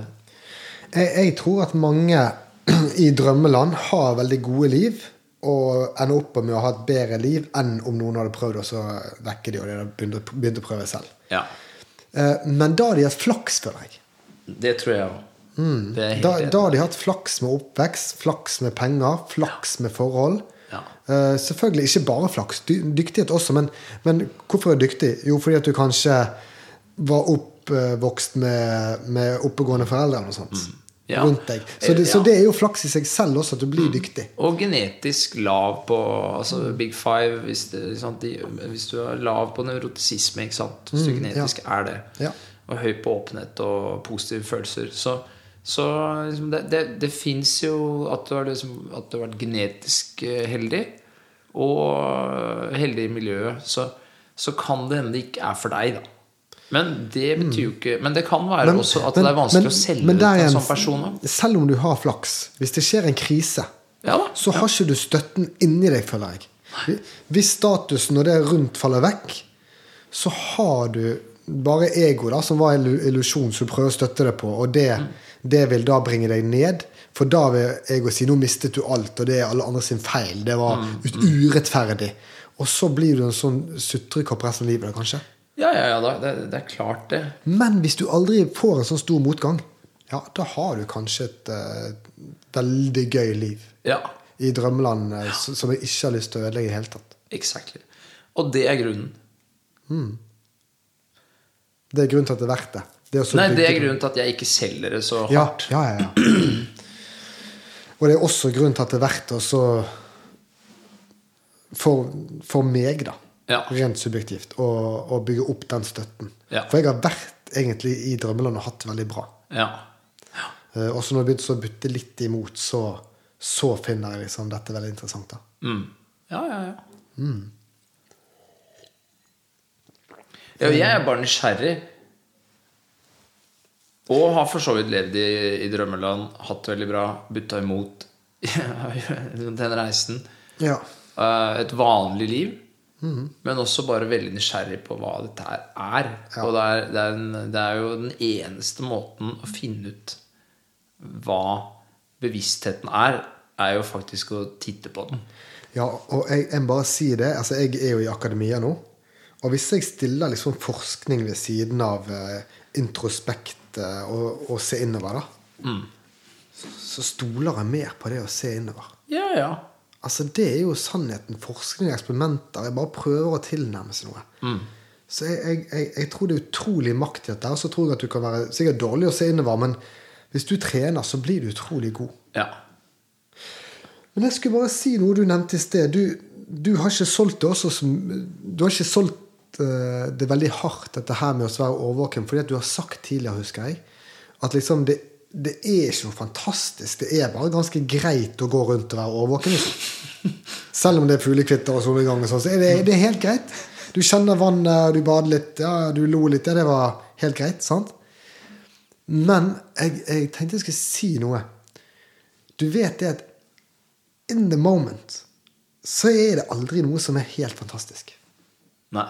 Jeg, jeg tror at mange i drømmeland har veldig gode liv og ender opp med å ha et bedre liv enn om noen hadde prøvd, og så vekker de og de hadde begynt å- begynt å prøve selv.
Ja,
Eh, Men da har de hatt flaks, føler jeg.
Det tror jeg òg. Det er jeg
Mm. Da,
helt
da
enig.
har de hatt flaks med oppvekst, flaks med penger, flaks med forhold.
Ja.
Eh, selvfølgelig ikke bare flaks, dy dyktighet også, men, men hvorfor er du dyktig? Jo, fordi at du kanskje var oppvokst med, med oppegående foreldre eller noe sånt
Mm. Ja. Eh,
rundt deg. Så det, så
Ja. Mm.
det er jo flaks i seg selv også, at du blir dyktig.
Og genetisk lav på altså big five. Hvis, det, ikke sant? De, hvis du er lav på nevrotisisme, ikke sant? hvis du genetisk er det,
Mm, Ja.
og høy på åpenhet og positive følelser, så, så liksom det, det, det fins jo at du, har liksom, at du har vært genetisk eh, heldig, og heldig i miljøet. Så, så kan det hende det ikke er for deg, da. Men det betyr jo ikke Men det kan være også at det er vanskelig å selge
Mm. men
det
der
til en
igjen,
sånn person. da.
Selv om du har flaks, hvis det skjer en krise,
Ja da.
så har ikke du støtten inni deg, føler jeg. Hvis statusen og det rundt faller vekk, så har du bare ego, da, som var en illu- illusjon som du prøver å støtte deg på, og det, det vil da bringe deg ned. For da vil ego si 'nå mistet du alt', og det er alle andre sin feil. Det var ut- urettferdig. Og så blir du en sånn sutrekopp resten av livet, da, kanskje.
Ja, ja, ja, da, det, det er klart, det.
Men hvis du aldri får en sånn stor motgang, ja, da har du kanskje et eh, veldig gøy liv
Ja.
i drømmeland eh, s- som jeg ikke har lyst til å ødelegge i det hele tatt.
Exactly. Og det er grunnen.
Det er grunnen til at det er verdt det. Det er,
Nei, det er grunnen til at jeg ikke selger det så hardt.
Ja, ja, ja, ja. Og det er også grunnen til at det er verdt det også for, for meg, da.
Ja.
Rent subjektivt. Å, å bygge opp den støtten.
Ja.
For jeg har vært egentlig i drømmeland og hatt det veldig bra.
Ja.
Eh, også når jeg begynte å butte litt imot, så, så finner jeg liksom dette veldig interessant. da.
Mm. ja, ja, ja. ja. Jeg er bare nysgjerrig. Og har for så vidt levd i, i drømmeland, hatt det veldig bra, butta imot den reisen.
Ja.
Eh, Et vanlig liv, men også bare veldig nysgjerrig på hva dette her er. Og det er, det, er en, det er jo den eneste måten å finne ut hva bevisstheten er, er jo faktisk å titte på den.
ja og jeg, jeg må bare si det. altså Jeg er jo i akademia nå. Og hvis jeg stiller liksom forskning ved siden av eh, introspekt eh, og, og se innover, da, så stoler jeg mer på det å se innover.
Ja, ja.
Altså Det er jo sannheten. Forskning og eksperimenter. Jeg bare prøver å tilnærme seg noe. Så jeg, jeg, jeg, jeg tror det er utrolig makt i dette. Og så tror jeg at du kan være sikkert dårlig å se innover, men hvis du trener, så blir du utrolig god.
ja.
Men jeg skulle bare si noe du nevnte i sted. Du, du har ikke solgt det også som Du har ikke solgt eh, det veldig hardt, dette her med å være årvåken, fordi at du har sagt tidligere, husker jeg, at liksom det, det er ikke noe fantastisk. Det er bare ganske greit å gå rundt og være årvåken. Liksom. Selv om det er fuglekvitter og solnedgang og sånn, så er det, det er helt greit. Du kjenner vannet, du bader litt, ja, du lo litt. Ja, det var helt greit, sant? Men jeg, jeg tenkte jeg skulle si noe. Du vet det at in the moment så er det aldri noe som er helt fantastisk.
Nei.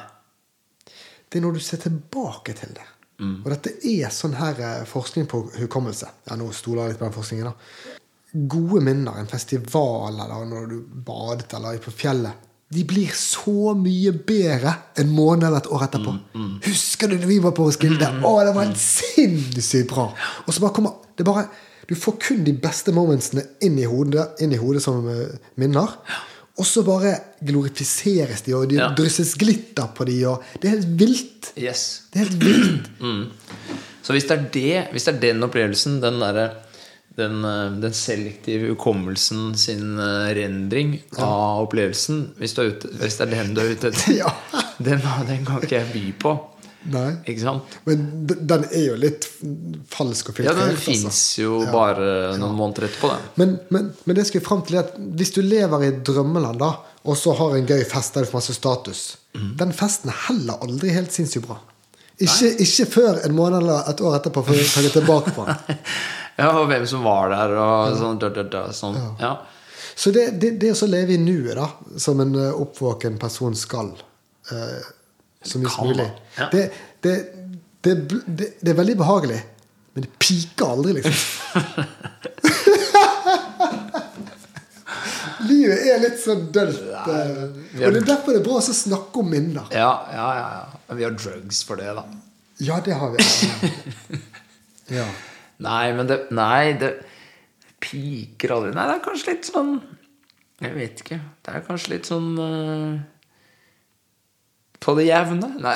Det er når du ser tilbake til det. Og dette er sånn her eh, forskning på hukommelse. Ja, nå stoler jeg litt på den forskningen, da. gode minner, en festival eller når du badet eller på fjellet, de blir så mye bedre en måned eller et år etterpå.
Mm,
Husker du når vi var på Roskilde? Å, det var helt sinnssykt bra! Og så bare kommer det bare, Du får kun de beste momentsene inn i hodet, inn i hodet som eh, minner. Og så bare glorifiseres de, og det
Ja.
drysses glitter på de, og Det er helt vilt.
Yes.
Det er helt vilt.
Så hvis det er det, hvis det er den opplevelsen, den derre den, eh, den selektive hukommelsen sin eh, rendring av opplevelsen Hvis, du er ute, hvis det er den du er ute etter,
Ja.
den, den kan ikke jeg by på.
Nei.
Ikke sant?
Men d- den er jo litt falsk og
Ja,
filtrert.
den
altså.
fins jo bare noen måneder etterpå, den.
Men, men, men det jeg skulle frem til er at hvis du lever i et drømmeland da, og så har en gøy fest der du får masse status, den festen er heller aldri helt sinnssykt bra. Ikke, ikke før en måned eller et år etterpå får du ta det tilbake på den.
Ja, og hvem som var der, og sånn. dø, dø, dø, sånn. Ja.
Så det, det, det å så leve i nuet, da, som en eh, oppvåken person skal eh, så mye som
Kan, da.
mulig,
Ja.
det, det, det, bl- det, det er veldig behagelig. Men det piker aldri, liksom. Livet er litt sånn dølt. eh,
vi er-
og det er derfor det er bra å så snakke om minner.
Ja, ja, ja, ja. Vi har drugs for det, da.
Ja, det har vi. Ja.
Nei, men det Nei, det piker aldri. Nei, det er kanskje litt sånn Jeg vet ikke. Det er kanskje litt sånn eh, På det jevne? Nei.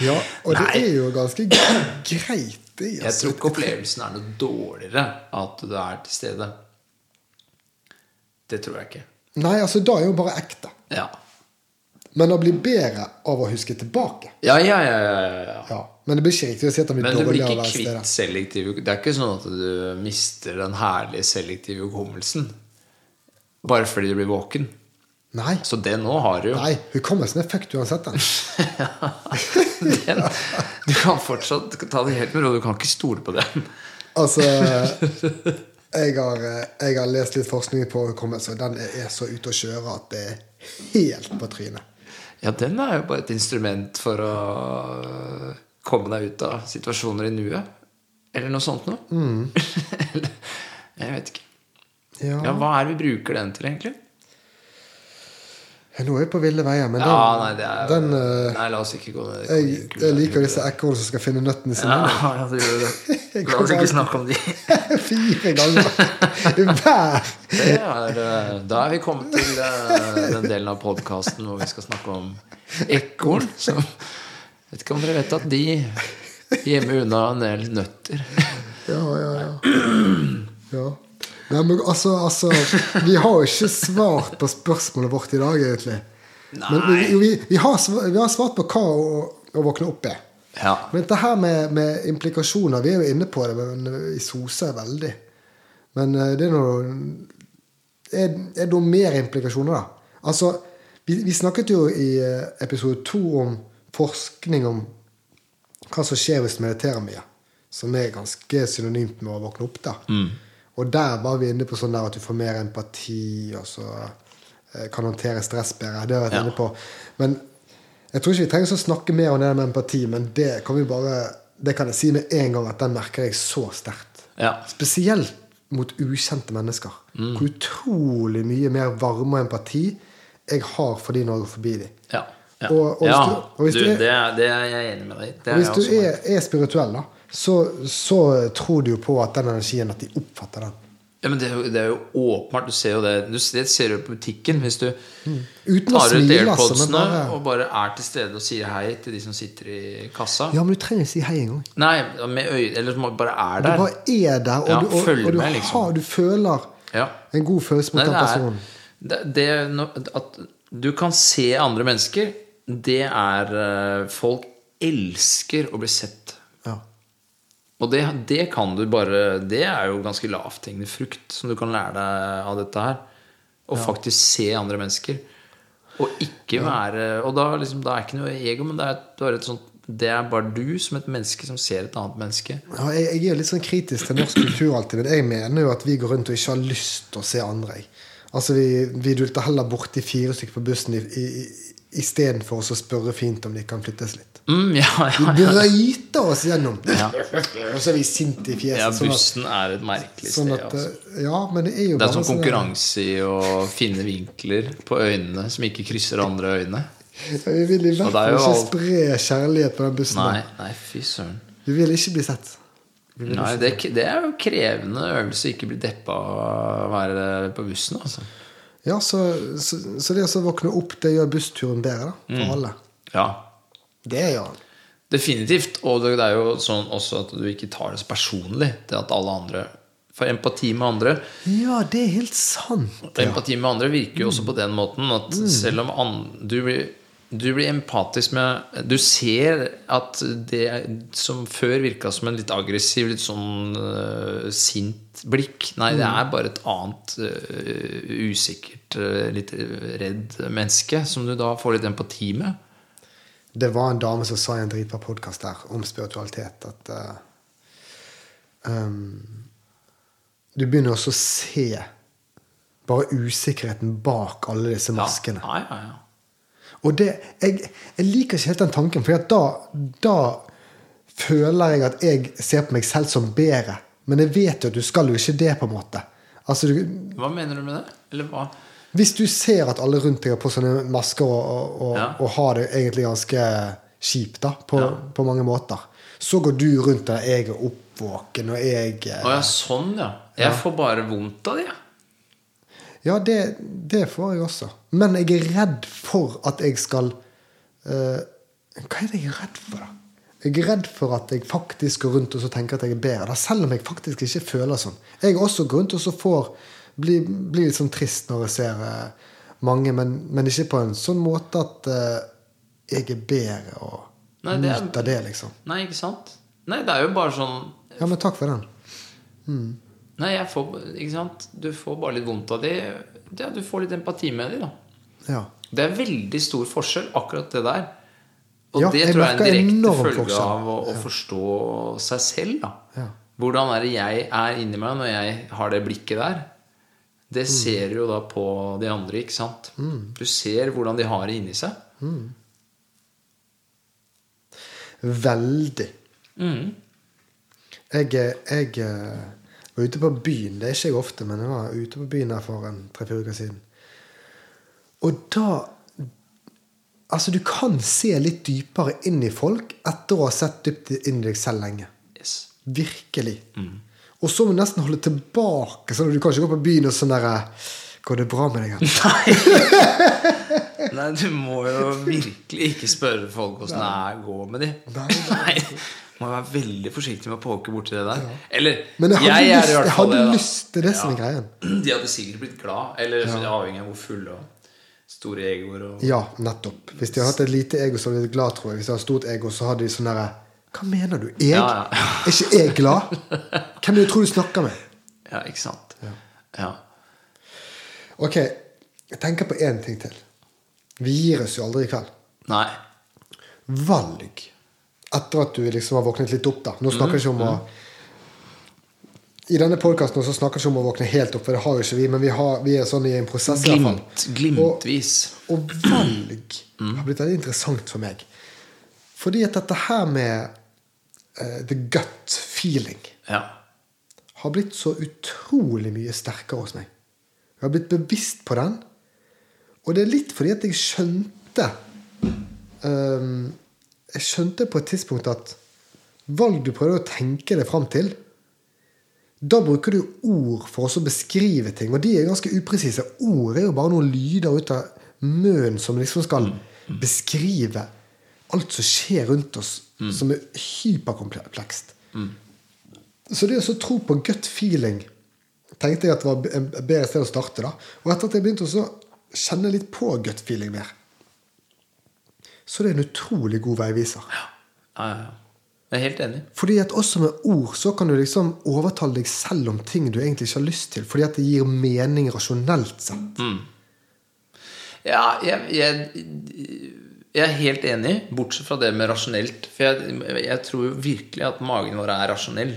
ja og det
Nei.
er jo ganske greit, det. altså.
Jeg tror ikke opplevelsen er noe dårligere at du er til stede. Det tror jeg ikke.
Nei, altså, da er jo bare ekte.
Ja.
Men det blir bedre av å huske tilbake.
Ja, ja, ja, ja, ja, ja.
Ja, Men det blir ikke riktig å si at det blir
Men du blir
dårlig av å
ikke
være
kvitt
stedet.
selektiv Det er ikke sånn at du mister den herlige selektive hukommelsen bare fordi du blir våken.
Nei.
Så det nå har du jo.
Nei, hukommelsen er fucked uansett. Den.
den. Du kan fortsatt ta det helt med ro. Du kan ikke stole på den.
Altså jeg har, eh, jeg har lest litt forskning på hukommelse, og den er så ute å kjøre at det er helt på trynet.
Ja, den er jo bare et instrument for å komme deg ut av situasjoner i nuet. Eller noe sånt noe.
Mm.
Eller- Jeg vet ikke.
Ja.
Ja, Hva er det vi bruker den til, egentlig?
Nå er vi på ville veier, men den,
Ja, nei, det er
den eh,
Nei, la oss ikke gå ned
jeg, jeg liker disse ekornene som skal finne nøttene sine.
Ja, ja, du gjør det. La oss
Kommer
ikke
alltid-
snakke om de.
Fire ganger! Hver!
Det er, eh, da er vi kommet til eh, den delen av podkasten hvor vi skal snakke om ekorn. som- Vet ikke om dere vet at de gjemmer unna en del nøtter.
Ja, ja, ja. ja. Nei, men altså, altså Vi har jo ikke svart på spørsmålet vårt i dag, egentlig. Men vi, vi, vi, har, sv- vi har svart på hva å, å våkne opp er.
Ja.
Men dette her med, med implikasjoner Vi er jo inne på det, men i SOSE er veldig. Men eh, det er noe Er, er det noe mer implikasjoner, da? Altså, vi, vi snakket jo i eh, episode to om forskning om hva som skjer hvis du mediterer mye. Som er ganske synonymt med å våkne opp. da.
Mm.
Og der var vi inne på sånn der at du får mer empati, og så eh, kan håndtere stress bedre. Det har jeg vært
Ja.
inne på. Men jeg tror ikke vi trenger så å snakke mer om det med empati, men det kan vi bare det kan jeg si med en gang at den merker jeg så sterkt.
Ja. Mm.
Spesielt mot ukjente mennesker. Hvor utrolig mye mer varme og empati jeg har for de når jeg går forbi de.
ja. ja.
Og- og hvis
ja.
du- og hvis
du,
du er-
det, er, det er jeg enig med deg i. Det er
Hvis
jeg
du
også med.
er, er spirituell, da, så, så tror du jo på at den energien At de oppfatter den.
Ja, men det, er jo- det er jo åpenbart. Du ser jo det Du, det ser du på butikken. Hvis du
Mm. Uten å
tar ut
smile, altså,
airpodsene
men bare-
og bare er til stede og sier hei til de som sitter i kassa
Ja, men du trenger ikke si hei engang.
Nei, med øye, eller som bare er
Du
der.
bare er der, og,
Ja,
du, og,
følg
og du,
med, liksom.
har, du føler
Ja.
en god følelse mot
Nei,
den
det er,
personen.
det, det, er no- at du kan se andre mennesker, det er eh, Folk elsker å bli sett.
Ja.
Og det, det kan du bare Det er jo ganske lavthengende frukt som du kan lære deg av dette her. Å faktisk se andre mennesker. Og ikke være Og da, liksom, da er ikke noe ego, men det er, du har et sånt, det er bare du som et menneske som ser et annet menneske.
Ja, jeg, jeg er jo litt sånn kritisk til norsk kultur alltid, men jeg mener jo at vi går rundt og ikke har lyst til å se andre. Jeg. Altså, Vi, vi dulter heller borti fire stykker på bussen i, i, i- istedenfor å spørre fint om de kan flyttes litt.
Mm, ja, ja,
Vi
ja.
brøyter oss gjennom.
Ja.
Og så er vi sinte i fjeset.
ja,
sånn at-
bussen er et merkelig
Sånn
sted.
at,
Altså.
eh, ja, men det er jo
Det
bare
er sånn
sånn der-
konkurranse i å finne vinkler på øynene som ikke krysser andre øyne.
Ja, Vi vil i hvert
Og det er
fall
jo
ikke
alt-
spre kjærlighet på den bussen.
Nei,
der.
nei fy søren.
Vi vil ikke bli sett.
Nei, det, det er jo krevende øvelse å ikke bli deppa av å være på bussen, altså.
Ja, så, så, så det å så våkne opp, det gjør bussturen bedre, da. For
Mm.
alle.
Ja.
Det gjør han.
Definitivt. Og det er jo sånn også at du ikke tar det så personlig, det at alle andre For empati med andre
Ja, det er helt sant.
Og Empati med andre virker jo også på den måten at selv om an, du, blir, du blir empatisk med Du ser at det som før virka som en litt aggressiv, litt sånn øh, sint blikk Nei, det er bare et annet øh, usikkert, øh, litt øh, redd menneske som du da får litt empati med.
Det var en dame som sa i en dritbra podkast her om spiritualitet at eh, um, Du begynner også å se bare usikkerheten bak alle disse
Ja.
maskene.
Ja, ja, ja.
Og det, jeg, jeg liker ikke helt den tanken, for da, da føler jeg at jeg ser på meg selv som bedre. Men jeg vet jo at du skal jo ikke det, på en måte. Altså, du,
Hva mener du med det? Eller hva?
hvis du ser at alle rundt deg har på sånne masker og, og, og,
Ja.
og har det egentlig ganske kjipt da, på,
Ja.
på mange måter, så går du rundt der jeg er oppvåken, og jeg eh,
Å ja, sånn, ja. Jeg får bare vondt av det, jeg.
Ja, det, det får jeg også. Men jeg er redd for at jeg skal eh, Hva er det jeg er redd for, da? Jeg er redd for at jeg faktisk går rundt og så tenker at jeg er bedre. Da, selv om jeg faktisk ikke føler sånn. Jeg går også går rundt og så får bli, bli litt sånn trist når jeg ser eh, mange, men, men ikke på en sånn måte at eh, jeg er bedre og
Nei, det er-
nyter det, liksom.
Nei, ikke sant? Nei, det er jo bare sånn
Ja, men takk for den.
Nei, jeg får, ikke sant? Du får bare litt vondt av de. Ja, du får litt empati med de, da.
Ja.
Det er veldig stor forskjell, akkurat det der. Og
Ja,
det
jeg
tror jeg er en
merker
direkte
enorm
følge
forskjell.
av å, å forstå seg selv, da.
Ja.
Hvordan er det jeg er inni meg når jeg har det blikket der? Det
Mm.
ser du jo da på de andre, ikke sant? Du ser hvordan de har det inni seg.
Veldig.
Mm.
Jeg, jeg eh, var ute på byen. Det er ikke jeg ofte, men jeg var ute på byen her for en tre-fire uker siden. Og da Altså, du kan se litt dypere inn i folk etter å ha sett dypt inn i deg selv lenge.
Yes.
Virkelig.
Mm.
Og så må du nesten holde tilbake. sånn at Du kan ikke gå på byen og sånn der eh, Går det bra med deg? eller?»
Nei, du må jo virkelig ikke spørre folk åssen det er å gå med de.
Nei,
Nei, Må være veldig forsiktig med å poke borti det der. Eller
Men jeg hadde,
jeg er
lyst,
i hvert
jeg
fall
hadde
da.
lyst til det som er greien.
De hadde sikkert blitt glad, eller altså, avhengig av hvor fulle og store egoer og
Ja, nettopp. Hvis de har hatt et lite ego, så hadde de blitt glad, tror jeg. Hvis de har stort ego, så har de sånn derre Hva mener du? Jeg?
Ja, ja.
er ikke jeg glad? Hvem er det du tror du snakker med?
Ja, ikke sant? Ja.
Ok, jeg tenker på én ting til. Vi gir oss jo aldri i kveld.
Nei.
Valg. Etter at du liksom har våknet litt opp, da. Nå snakker vi ikke
Mm,
om å I denne podkasten snakker vi ikke om å våkne helt opp, for det har jo ikke vi, men vi, har, vi er sånn i en prosess. i hvert fall.
Glimt, glimtvis.
Og valg har blitt veldig interessant for meg. Fordi at dette her med eh, the gut feeling
Ja.
har blitt så utrolig mye sterkere hos meg. Jeg har blitt bevisst på den. Og det er litt fordi at jeg skjønte ehm, Jeg skjønte på et tidspunkt at valg du prøver å tenke deg fram til Da bruker du ord for å beskrive ting, og de er ganske upresise. Ord er jo bare noen lyder ut av munnen som liksom skal beskrive alt som skjer rundt oss, som er hyperkomplekst. Så det å så tro på gut feeling tenkte jeg at det var b- et bedre sted å starte. da. Og etter at jeg begynte å så kjenne litt på gut feeling mer, så det er en utrolig god veiviser.
Ja, ja. Jeg er helt enig.
Fordi at også med ord så kan du liksom overtale deg selv om ting du egentlig ikke har lyst til, fordi at det gir mening rasjonelt sett.
Ja, jeg, jeg, jeg er helt enig, bortsett fra det med rasjonelt. For jeg, jeg tror jo virkelig at magen vår er rasjonell.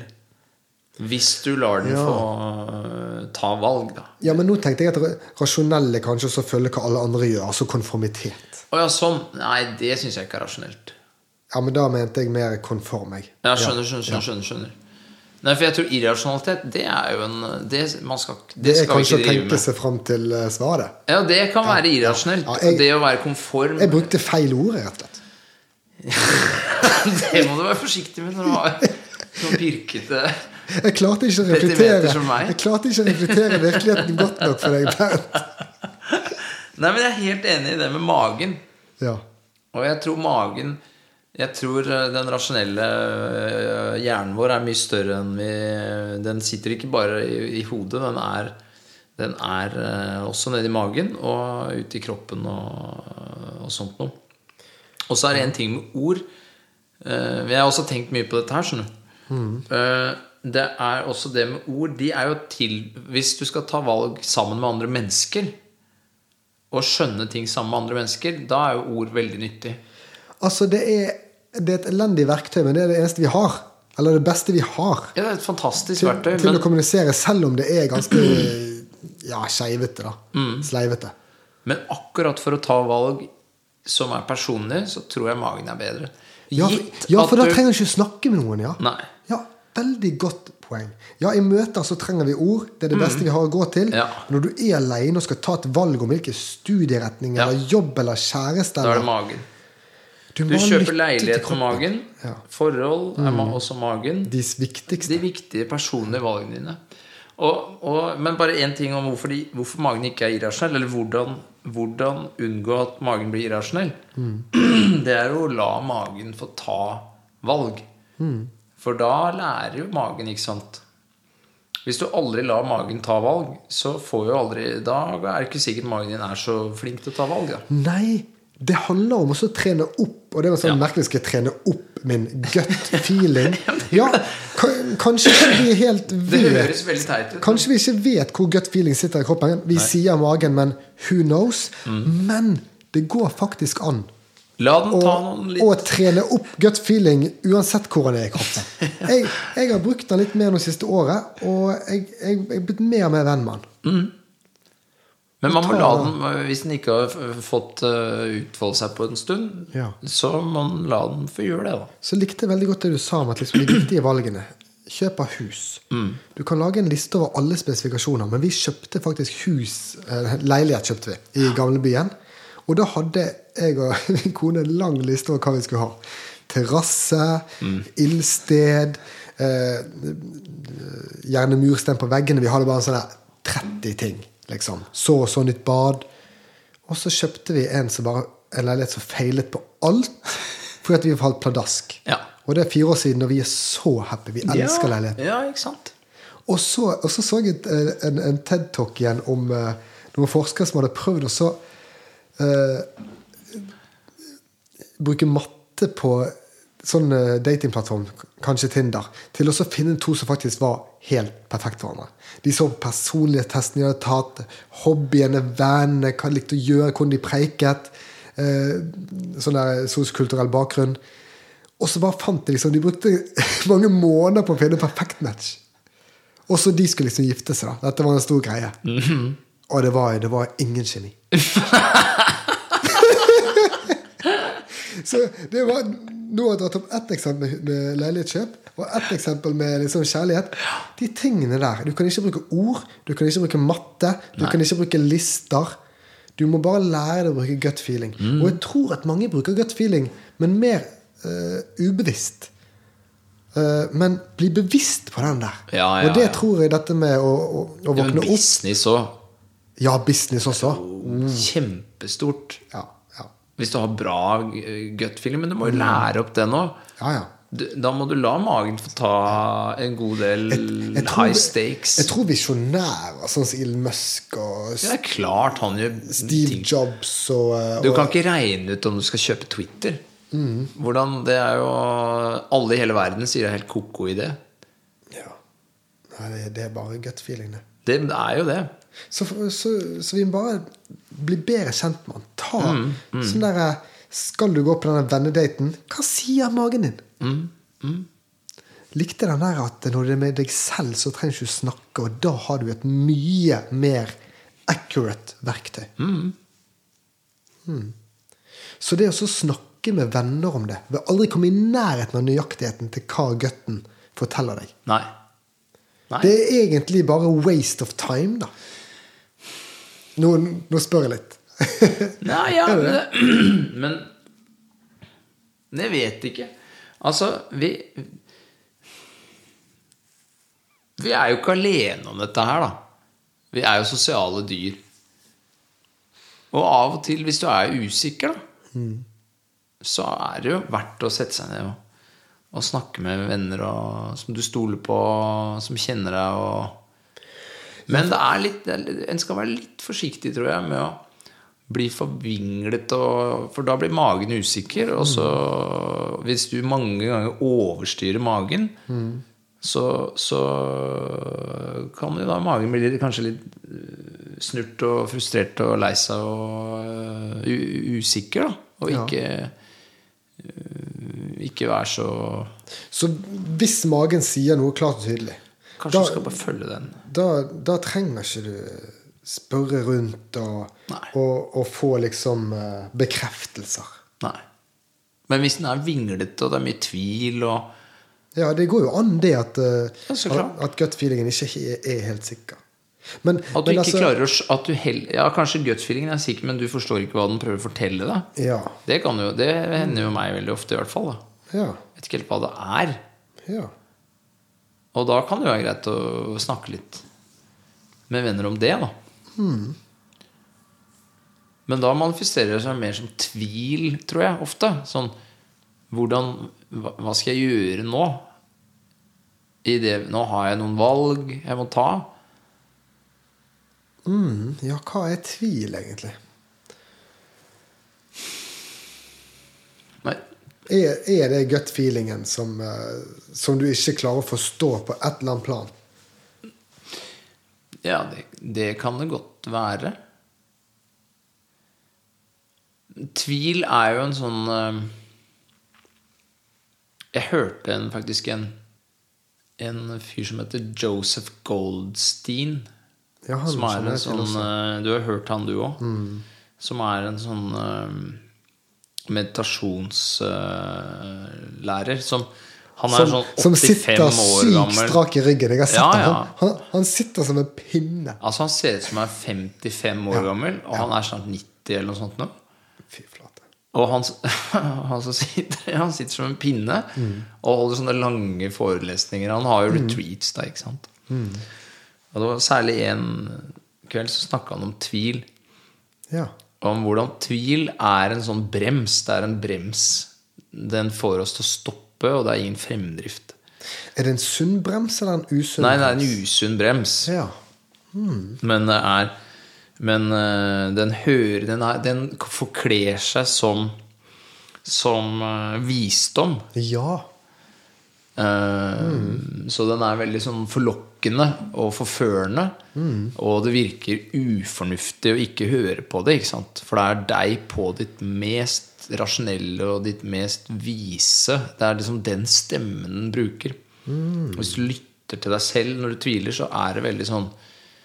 Hvis du lar den
Ja.
få øh, ta valg, da.
Ja, men nå tenkte jeg at ra- rasjonelle kanskje også følger hva alle andre gjør, altså konformitet.
Å ja, sånn. Nei, det syns jeg ikke er rasjonelt.
Ja, men da mente jeg mer konform, jeg.
Ja, skjønner, skjønner, skjønner, skjønner, skjønner. Nei, for jeg tror irrasjonalitet, det er jo en Det, man skal, det
Det er
skal
kanskje
vi ikke
å
drive
tenke
med.
seg fram til eh, svaret.
Ja, det kan være irrasjonelt.
Ja, jeg-
det å være konform
Jeg brukte feil ord, rett og slett.
Det må du være forsiktig med når du har sånn pirkete
Jeg klarte ikke å
Petimeter
reflektere
som meg.
Jeg klarte ikke å reflektere virkeligheten godt nok for deg, Bernt.
Nei, men jeg er helt enig i det med magen.
Ja.
Og jeg tror magen Jeg tror eh, den rasjonelle eh, hjernen vår er mye større enn vi Den sitter ikke bare i, i hodet, den er, den er eh, også nede i magen og ute i kroppen og, og sånt noe. Og så er det en ting med ord. Eh, Jeg har også tenkt mye på dette her, skjønner du. Eh, Det er også det med ord. De er jo til Hvis du skal ta valg sammen med andre mennesker, og skjønne ting sammen med andre mennesker, da er jo ord veldig nyttig.
Altså, det er, det er et elendig verktøy, men det er det eneste vi har. Eller det beste vi har
Ja, det er et fantastisk
til,
verktøy,
til å
men,
kommunisere, selv om det er ganske ja, skeivete, da.
Mm.
Sleivete.
men akkurat for å ta valg som er personlig, så tror jeg magen er bedre.
Ja, for, ja, for da trenger du ikke snakke med noen. ja.
Nei.
Ja, Veldig godt poeng. Ja, I møter så trenger vi ord. Det er det beste vi har å gå til.
Mm. Ja.
Når du er alene og skal ta et valg om hvilken studieretning
Ja.
eller jobb eller kjæreste
Da er det
eller-
magen.
Du, må
Du
lytte
kjøper
til
leilighet med
kroppen.
magen.
Ja. Mm.
Forhold er ma- også magen.
De viktigste.
De viktige personlige valgene dine. Og, og, men bare én ting om hvorfor, de, hvorfor magen ikke er irrasjonell, eller hvordan, hvordan unngå at magen blir irrasjonell.
Mm.
Det er jo å la magen få ta valg.
Mm.
For da lærer jo magen, ikke sant. Hvis du aldri lar magen ta valg, så får jo aldri Da er det ikke sikkert magen din er så flink til å ta valg. Da.
Nei, det handler om også å trene opp. Og det var sånn merkelig skal jeg trene opp min gut feeling. ja, ka- kanskje ikke vi helt
Det
vet
høres veldig teit ut.
Kanskje vi ikke vet hvor gut feeling sitter i kroppen. Vi sier magen, men who knows?
Mm.
Men det går faktisk an
La den
å,
ta noen
å
litt
trene opp gut feeling uansett hvor den er i kroppen. Jeg, jeg har brukt den litt mer det siste året, og jeg, jeg, jeg er blitt mer og mer venn med den.
Men man må
Ta-
la den, hvis den ikke har f- fått eh, utfolde seg på en stund,
Ja.
så må man la den få gjøre det, da.
Så likte jeg veldig godt det du sa om at liksom, de viktige valgene Kjøp av hus. Du kan lage en liste over alle spesifikasjoner, men vi kjøpte faktisk hus eh, Leilighet kjøpte vi i gamlebyen. Og da hadde jeg og min kone en lang liste over hva vi skulle ha. Terrasse, ildsted eh, Gjerne murstein på veggene. Vi hadde bare sånne 30 ting. liksom. Så og så nytt bad. Og så kjøpte vi en, som bare, en leilighet som feilet på alt fordi at vi falt pladask.
Ja.
Og det er fire år siden, og vi er så happy. Vi elsker
ja,
leiligheten.
Ja, ikke sant?
Og så, og så så jeg et, eh, en, en TED-talk igjen om eh, noen forskere som hadde prøvd å så eh, bruke matte på sånn eh, datingplattform, kanskje Tinder, til å så finne to som faktisk var helt perfekt for hverandre. De så på personlighetstesten de hadde tatt, hobbyene, vennene, hva de likte å gjøre, hvordan de preiket, eh, sånn der sosiokulturell bakgrunn. Og så bare fant de liksom De brukte mange måneder på å finne en perfekt match. Og så de skulle liksom gifte seg, da. Dette var en stor greie.
Mhm.
Og det var, det var ingen kjemi. så det var Nå har jeg dratt opp ett eksempel med, med leilighetskjøp og ett eksempel med liksom kjærlighet. De tingene der. Du kan ikke bruke ord, du kan ikke bruke matte, du kan ikke bruke lister. Du må bare lære deg å bruke gut feeling.
Mm.
Og jeg tror at mange bruker gut feeling, men mer eh, ubevisst. Eh, men bli bevisst på den der.
Ja, ja,
og det
ja.
tror jeg dette med å, å, å
Ja, men
våkne opp
business òg.
Ja, business også.
Kjempestort.
Ja, ja.
Hvis du har bra eh, gut feeling, men du må jo lære opp den òg.
ja, ja.
Da må du la magen få ta en god del
Jeg tror-
Mm, high stakes.
Jeg tror visjonærer sånn som Elon Musk og
det er klart han gjør
Steve
ting
Jobs og, eh,
Du
og
kan ikke regne ut om du skal kjøpe Twitter.
Mm.
Hvordan, det er jo Alle i hele verden sier det er helt ko-ko i det.
ja. Nei, det, det er bare gut feeling, det.
Det er jo det.
Så, så, så vi må bare bli bedre kjent med han. Ta sånn derre Skal du gå på denne vennedaten? Hva sier magen din? likte den der at når det er med deg selv, så trenger du ikke snakke, og da har du et mye mer accurate verktøy. Mm. Så det å så snakke med venner om det vil aldri komme i nærheten av nøyaktigheten til hva gutten forteller deg.
Nei. Nei.
Det er egentlig bare waste of time, da. Nå, nå spør jeg litt.
Nei, ja,
Er det
men, men Men Jeg vet ikke. Altså, vi Vi er jo ikke alene om dette her, da. Vi er jo sosiale dyr. Og av og til, hvis du er usikker, da,
Mm.
så er det jo verdt å sette seg ned og, og snakke med venner og, som du stoler på, som kjenner deg og men det er litt, det er litt- en skal være litt forsiktig, tror jeg, med å bli forvinglet, og, for da blir magen usikker. Og så, hvis du mange ganger overstyrer magen, så, så kan jo da magen bli litt, kanskje litt øh, snurt og frustrert og lei seg og øh, u usikker, da. Og
Ja.
ikke, øh, ikke være så
Så hvis magen sier noe klart og tydelig,
Kanskje
da,
du skal bare følge den.
da, da trenger ikke du spørre rundt og,
Nei.
og, og få liksom eh, bekreftelser.
Nei. Men hvis den er vinglete, og det er mye tvil og
Ja, det går jo an det at, eh,
Ja, så
at,
klart.
at gut feelingen ikke he- er helt sikker. Men,
At du
men
ikke
altså-
klarer å s- at du hell, Ja, kanskje gut-feelingen er sikker, men du forstår ikke hva den prøver å fortelle deg.
Ja.
Det, kan jo, det hender jo meg veldig ofte, i hvert fall. Da.
Ja.
Vet ikke helt hva det er.
ja.
Og da kan det jo være greit å snakke litt med venner om det, da. Men da manifesterer det seg mer som tvil, tror jeg, ofte. Sånn hvordan, hva, hva skal jeg gjøre nå? I det, nå har jeg noen valg jeg må ta.
Mm, ja, hva er tvil, egentlig?
Nei,
Er, er det gut feelingen som, eh, som du ikke klarer å forstå på et eller annet plan?
Ja, det, det kan det godt være. Tvil er jo en sånn eh, Jeg hørte en, faktisk en, en fyr som heter Joseph Goldstein.
Ja, han
som er
kjenner jeg
en
til Mm.
sånn eh, Du har hørt han, du òg. Som er en sånn meditasjonslærer eh, som Han er
Som,
sånn
som
85
sitter
år
sykt
gammel.
strak i ryggen. Jeg har sett
Ja,
han.
ja.
Han, han. Han sitter som en pinne.
Altså Han ser ut som han er 55 år gammel, og han er snart 90 eller noe sånt nå.
Fy flate.
Og han, s- han, som sitter, han sitter som en pinne
Mm.
og holder sånne lange forelesninger. Han har jo retreats, da, ikke sant.
Mm.
Og det var særlig en kveld så snakka han om tvil.
Ja.
Om hvordan tvil er en sånn brems. Det er en brems. Den får oss til å stoppe, og det er ingen fremdrift.
Er det en sunn brems eller en usunn?
Nei, det er
brems?
en usunn brems.
Ja.
Men det er Men eh, den hører Den, er, den forkler seg som Som eh, visdom.
ja.
Eh, Så den er veldig sånn forlokkende og forførende.
Mm.
Og det virker ufornuftig å ikke høre på det. Ikke sant? For det er deg på ditt mest rasjonelle og ditt mest vise. Det er liksom den stemmen den bruker.
Mm.
Hvis du lytter til deg selv når du tviler, så er det veldig sånn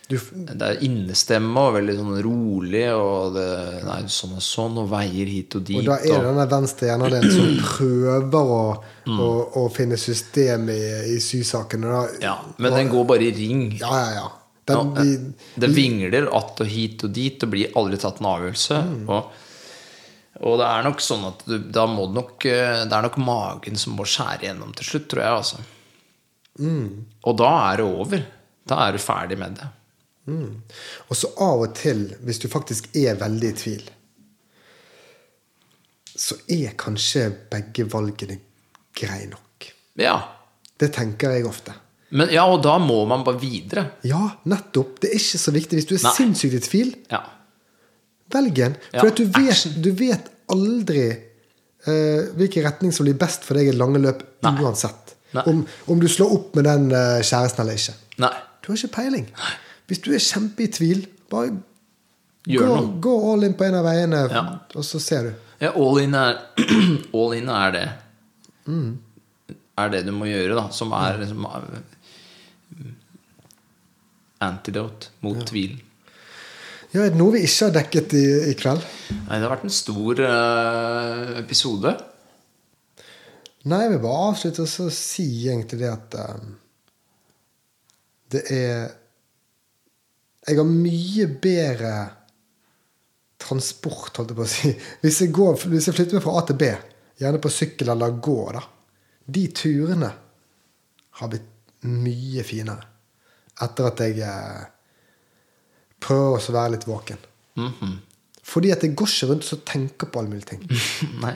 Du, f-
det er innestemme og veldig sånn rolig, og det, nei, sånn og sånn, og veier hit og dit.
Og da er det denne venstre hjernedelen som prøver å,
Mm.
å, å finne system i, i sysaken. Og da,
ja, eh. men den går bare i ring.
ja, ja, ja. Den,
Ja,
vi,
det vingler att og hit og dit, og blir aldri tatt en avgjørelse.
Mm.
Og, og det er nok sånn at du, da må det nok eh, Det er nok magen som må skjære gjennom til slutt, tror jeg, altså.
Mm.
Og da er det over. Da er du ferdig med det.
og så av og til, hvis du faktisk er veldig i tvil, så er kanskje begge valgene greie nok.
Ja.
Det tenker jeg ofte.
Men, ja, og da må man bare videre.
Ja, nettopp. Det er ikke så viktig. Hvis du er
Nei.
sinnssykt i tvil,
Ja.
velg en.
Ja,
For at du, vet,
action.
du vet aldri eh, hvilken retning som blir best for deg i det lange løp,
Nei.
uansett.
Nei.
Om, om du slår opp med den eh, kjæresten eller ikke.
Nei.
Du har ikke peiling. Hvis du er kjempe i tvil, bare
Gjør
gå,
noe.
gå all in på en av veiene,
Ja.
og så ser du. Mm.
Ja, all in er, all in er det. er det du må gjøre, da. Som er liksom eh, antidote mot tvil.
Ja, er det noe vi ikke har dekket i, i kveld?
Nei, det har vært en stor eh, episode.
Nei, jeg vil bare avslutte og så si egentlig det at eh, Det er Jeg har mye bedre transport, holdt jeg på å si. Hvis jeg, går, hvis jeg flytter meg fra A til B, gjerne på sykkel eller gå, da De turene har blitt mye finere etter at jeg eh, prøver å være litt våken.
Mhm.
Fordi at jeg går ikke rundt og så tenker på alle mulige ting.
Nei.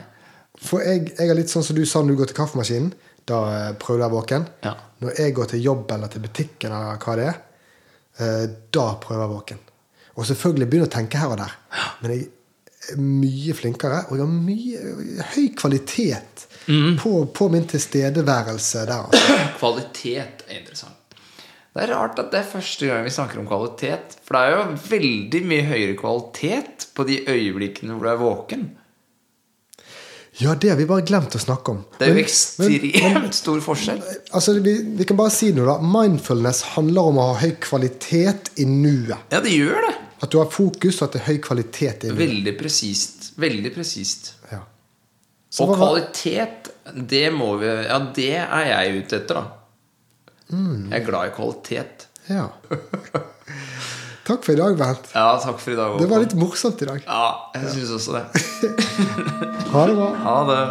For jeg, jeg er litt sånn som du sa når du går til kaffemaskinen. Da eh, prøver du å være våken.
Ja.
Når jeg går til jobb eller til butikken, eller hva det er, eh, da prøver jeg å være våken. Og selvfølgelig begynner jeg å tenke her og der. Men jeg er mye flinkere, og jeg har mye, høy kvalitet
Mm.
på, på min tilstedeværelse der. Altså.
Kvalitet er interessant. Det er rart at det er første gang vi snakker om kvalitet. For det er jo veldig mye høyere kvalitet på de øyeblikkene hvor du er våken.
Ja, det har vi bare glemt å snakke om.
Det er jo
Men- men-
ekstremt stor forskjell.
Altså, vi, vi kan bare si noe, da. Mindfulness handler om å ha høy kvalitet i nuet.
Ja, det gjør det.
At du har fokus, og at det er høy kvalitet i nuet.
Veldig presist. Veldig presist.
Ja. Så
Og
hva var-
kvalitet, det må vi Ja, det er jeg ute etter, da.
Mm.
Jeg er glad i kvalitet.
Ja. Takk for i dag, Bernt.
Ja, takk for i dag.
Det var
Håkon.
litt morsomt i dag.
Ja, jeg syns også det.
Ha det bra.
Ha det.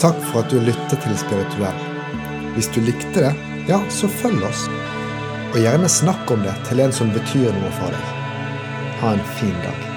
Takk for at du lyttet til Spirituell. Hvis du likte det, ja, så følg oss. Og gjerne snakk om det til en som betyr noe for deg. Ha en fin dag.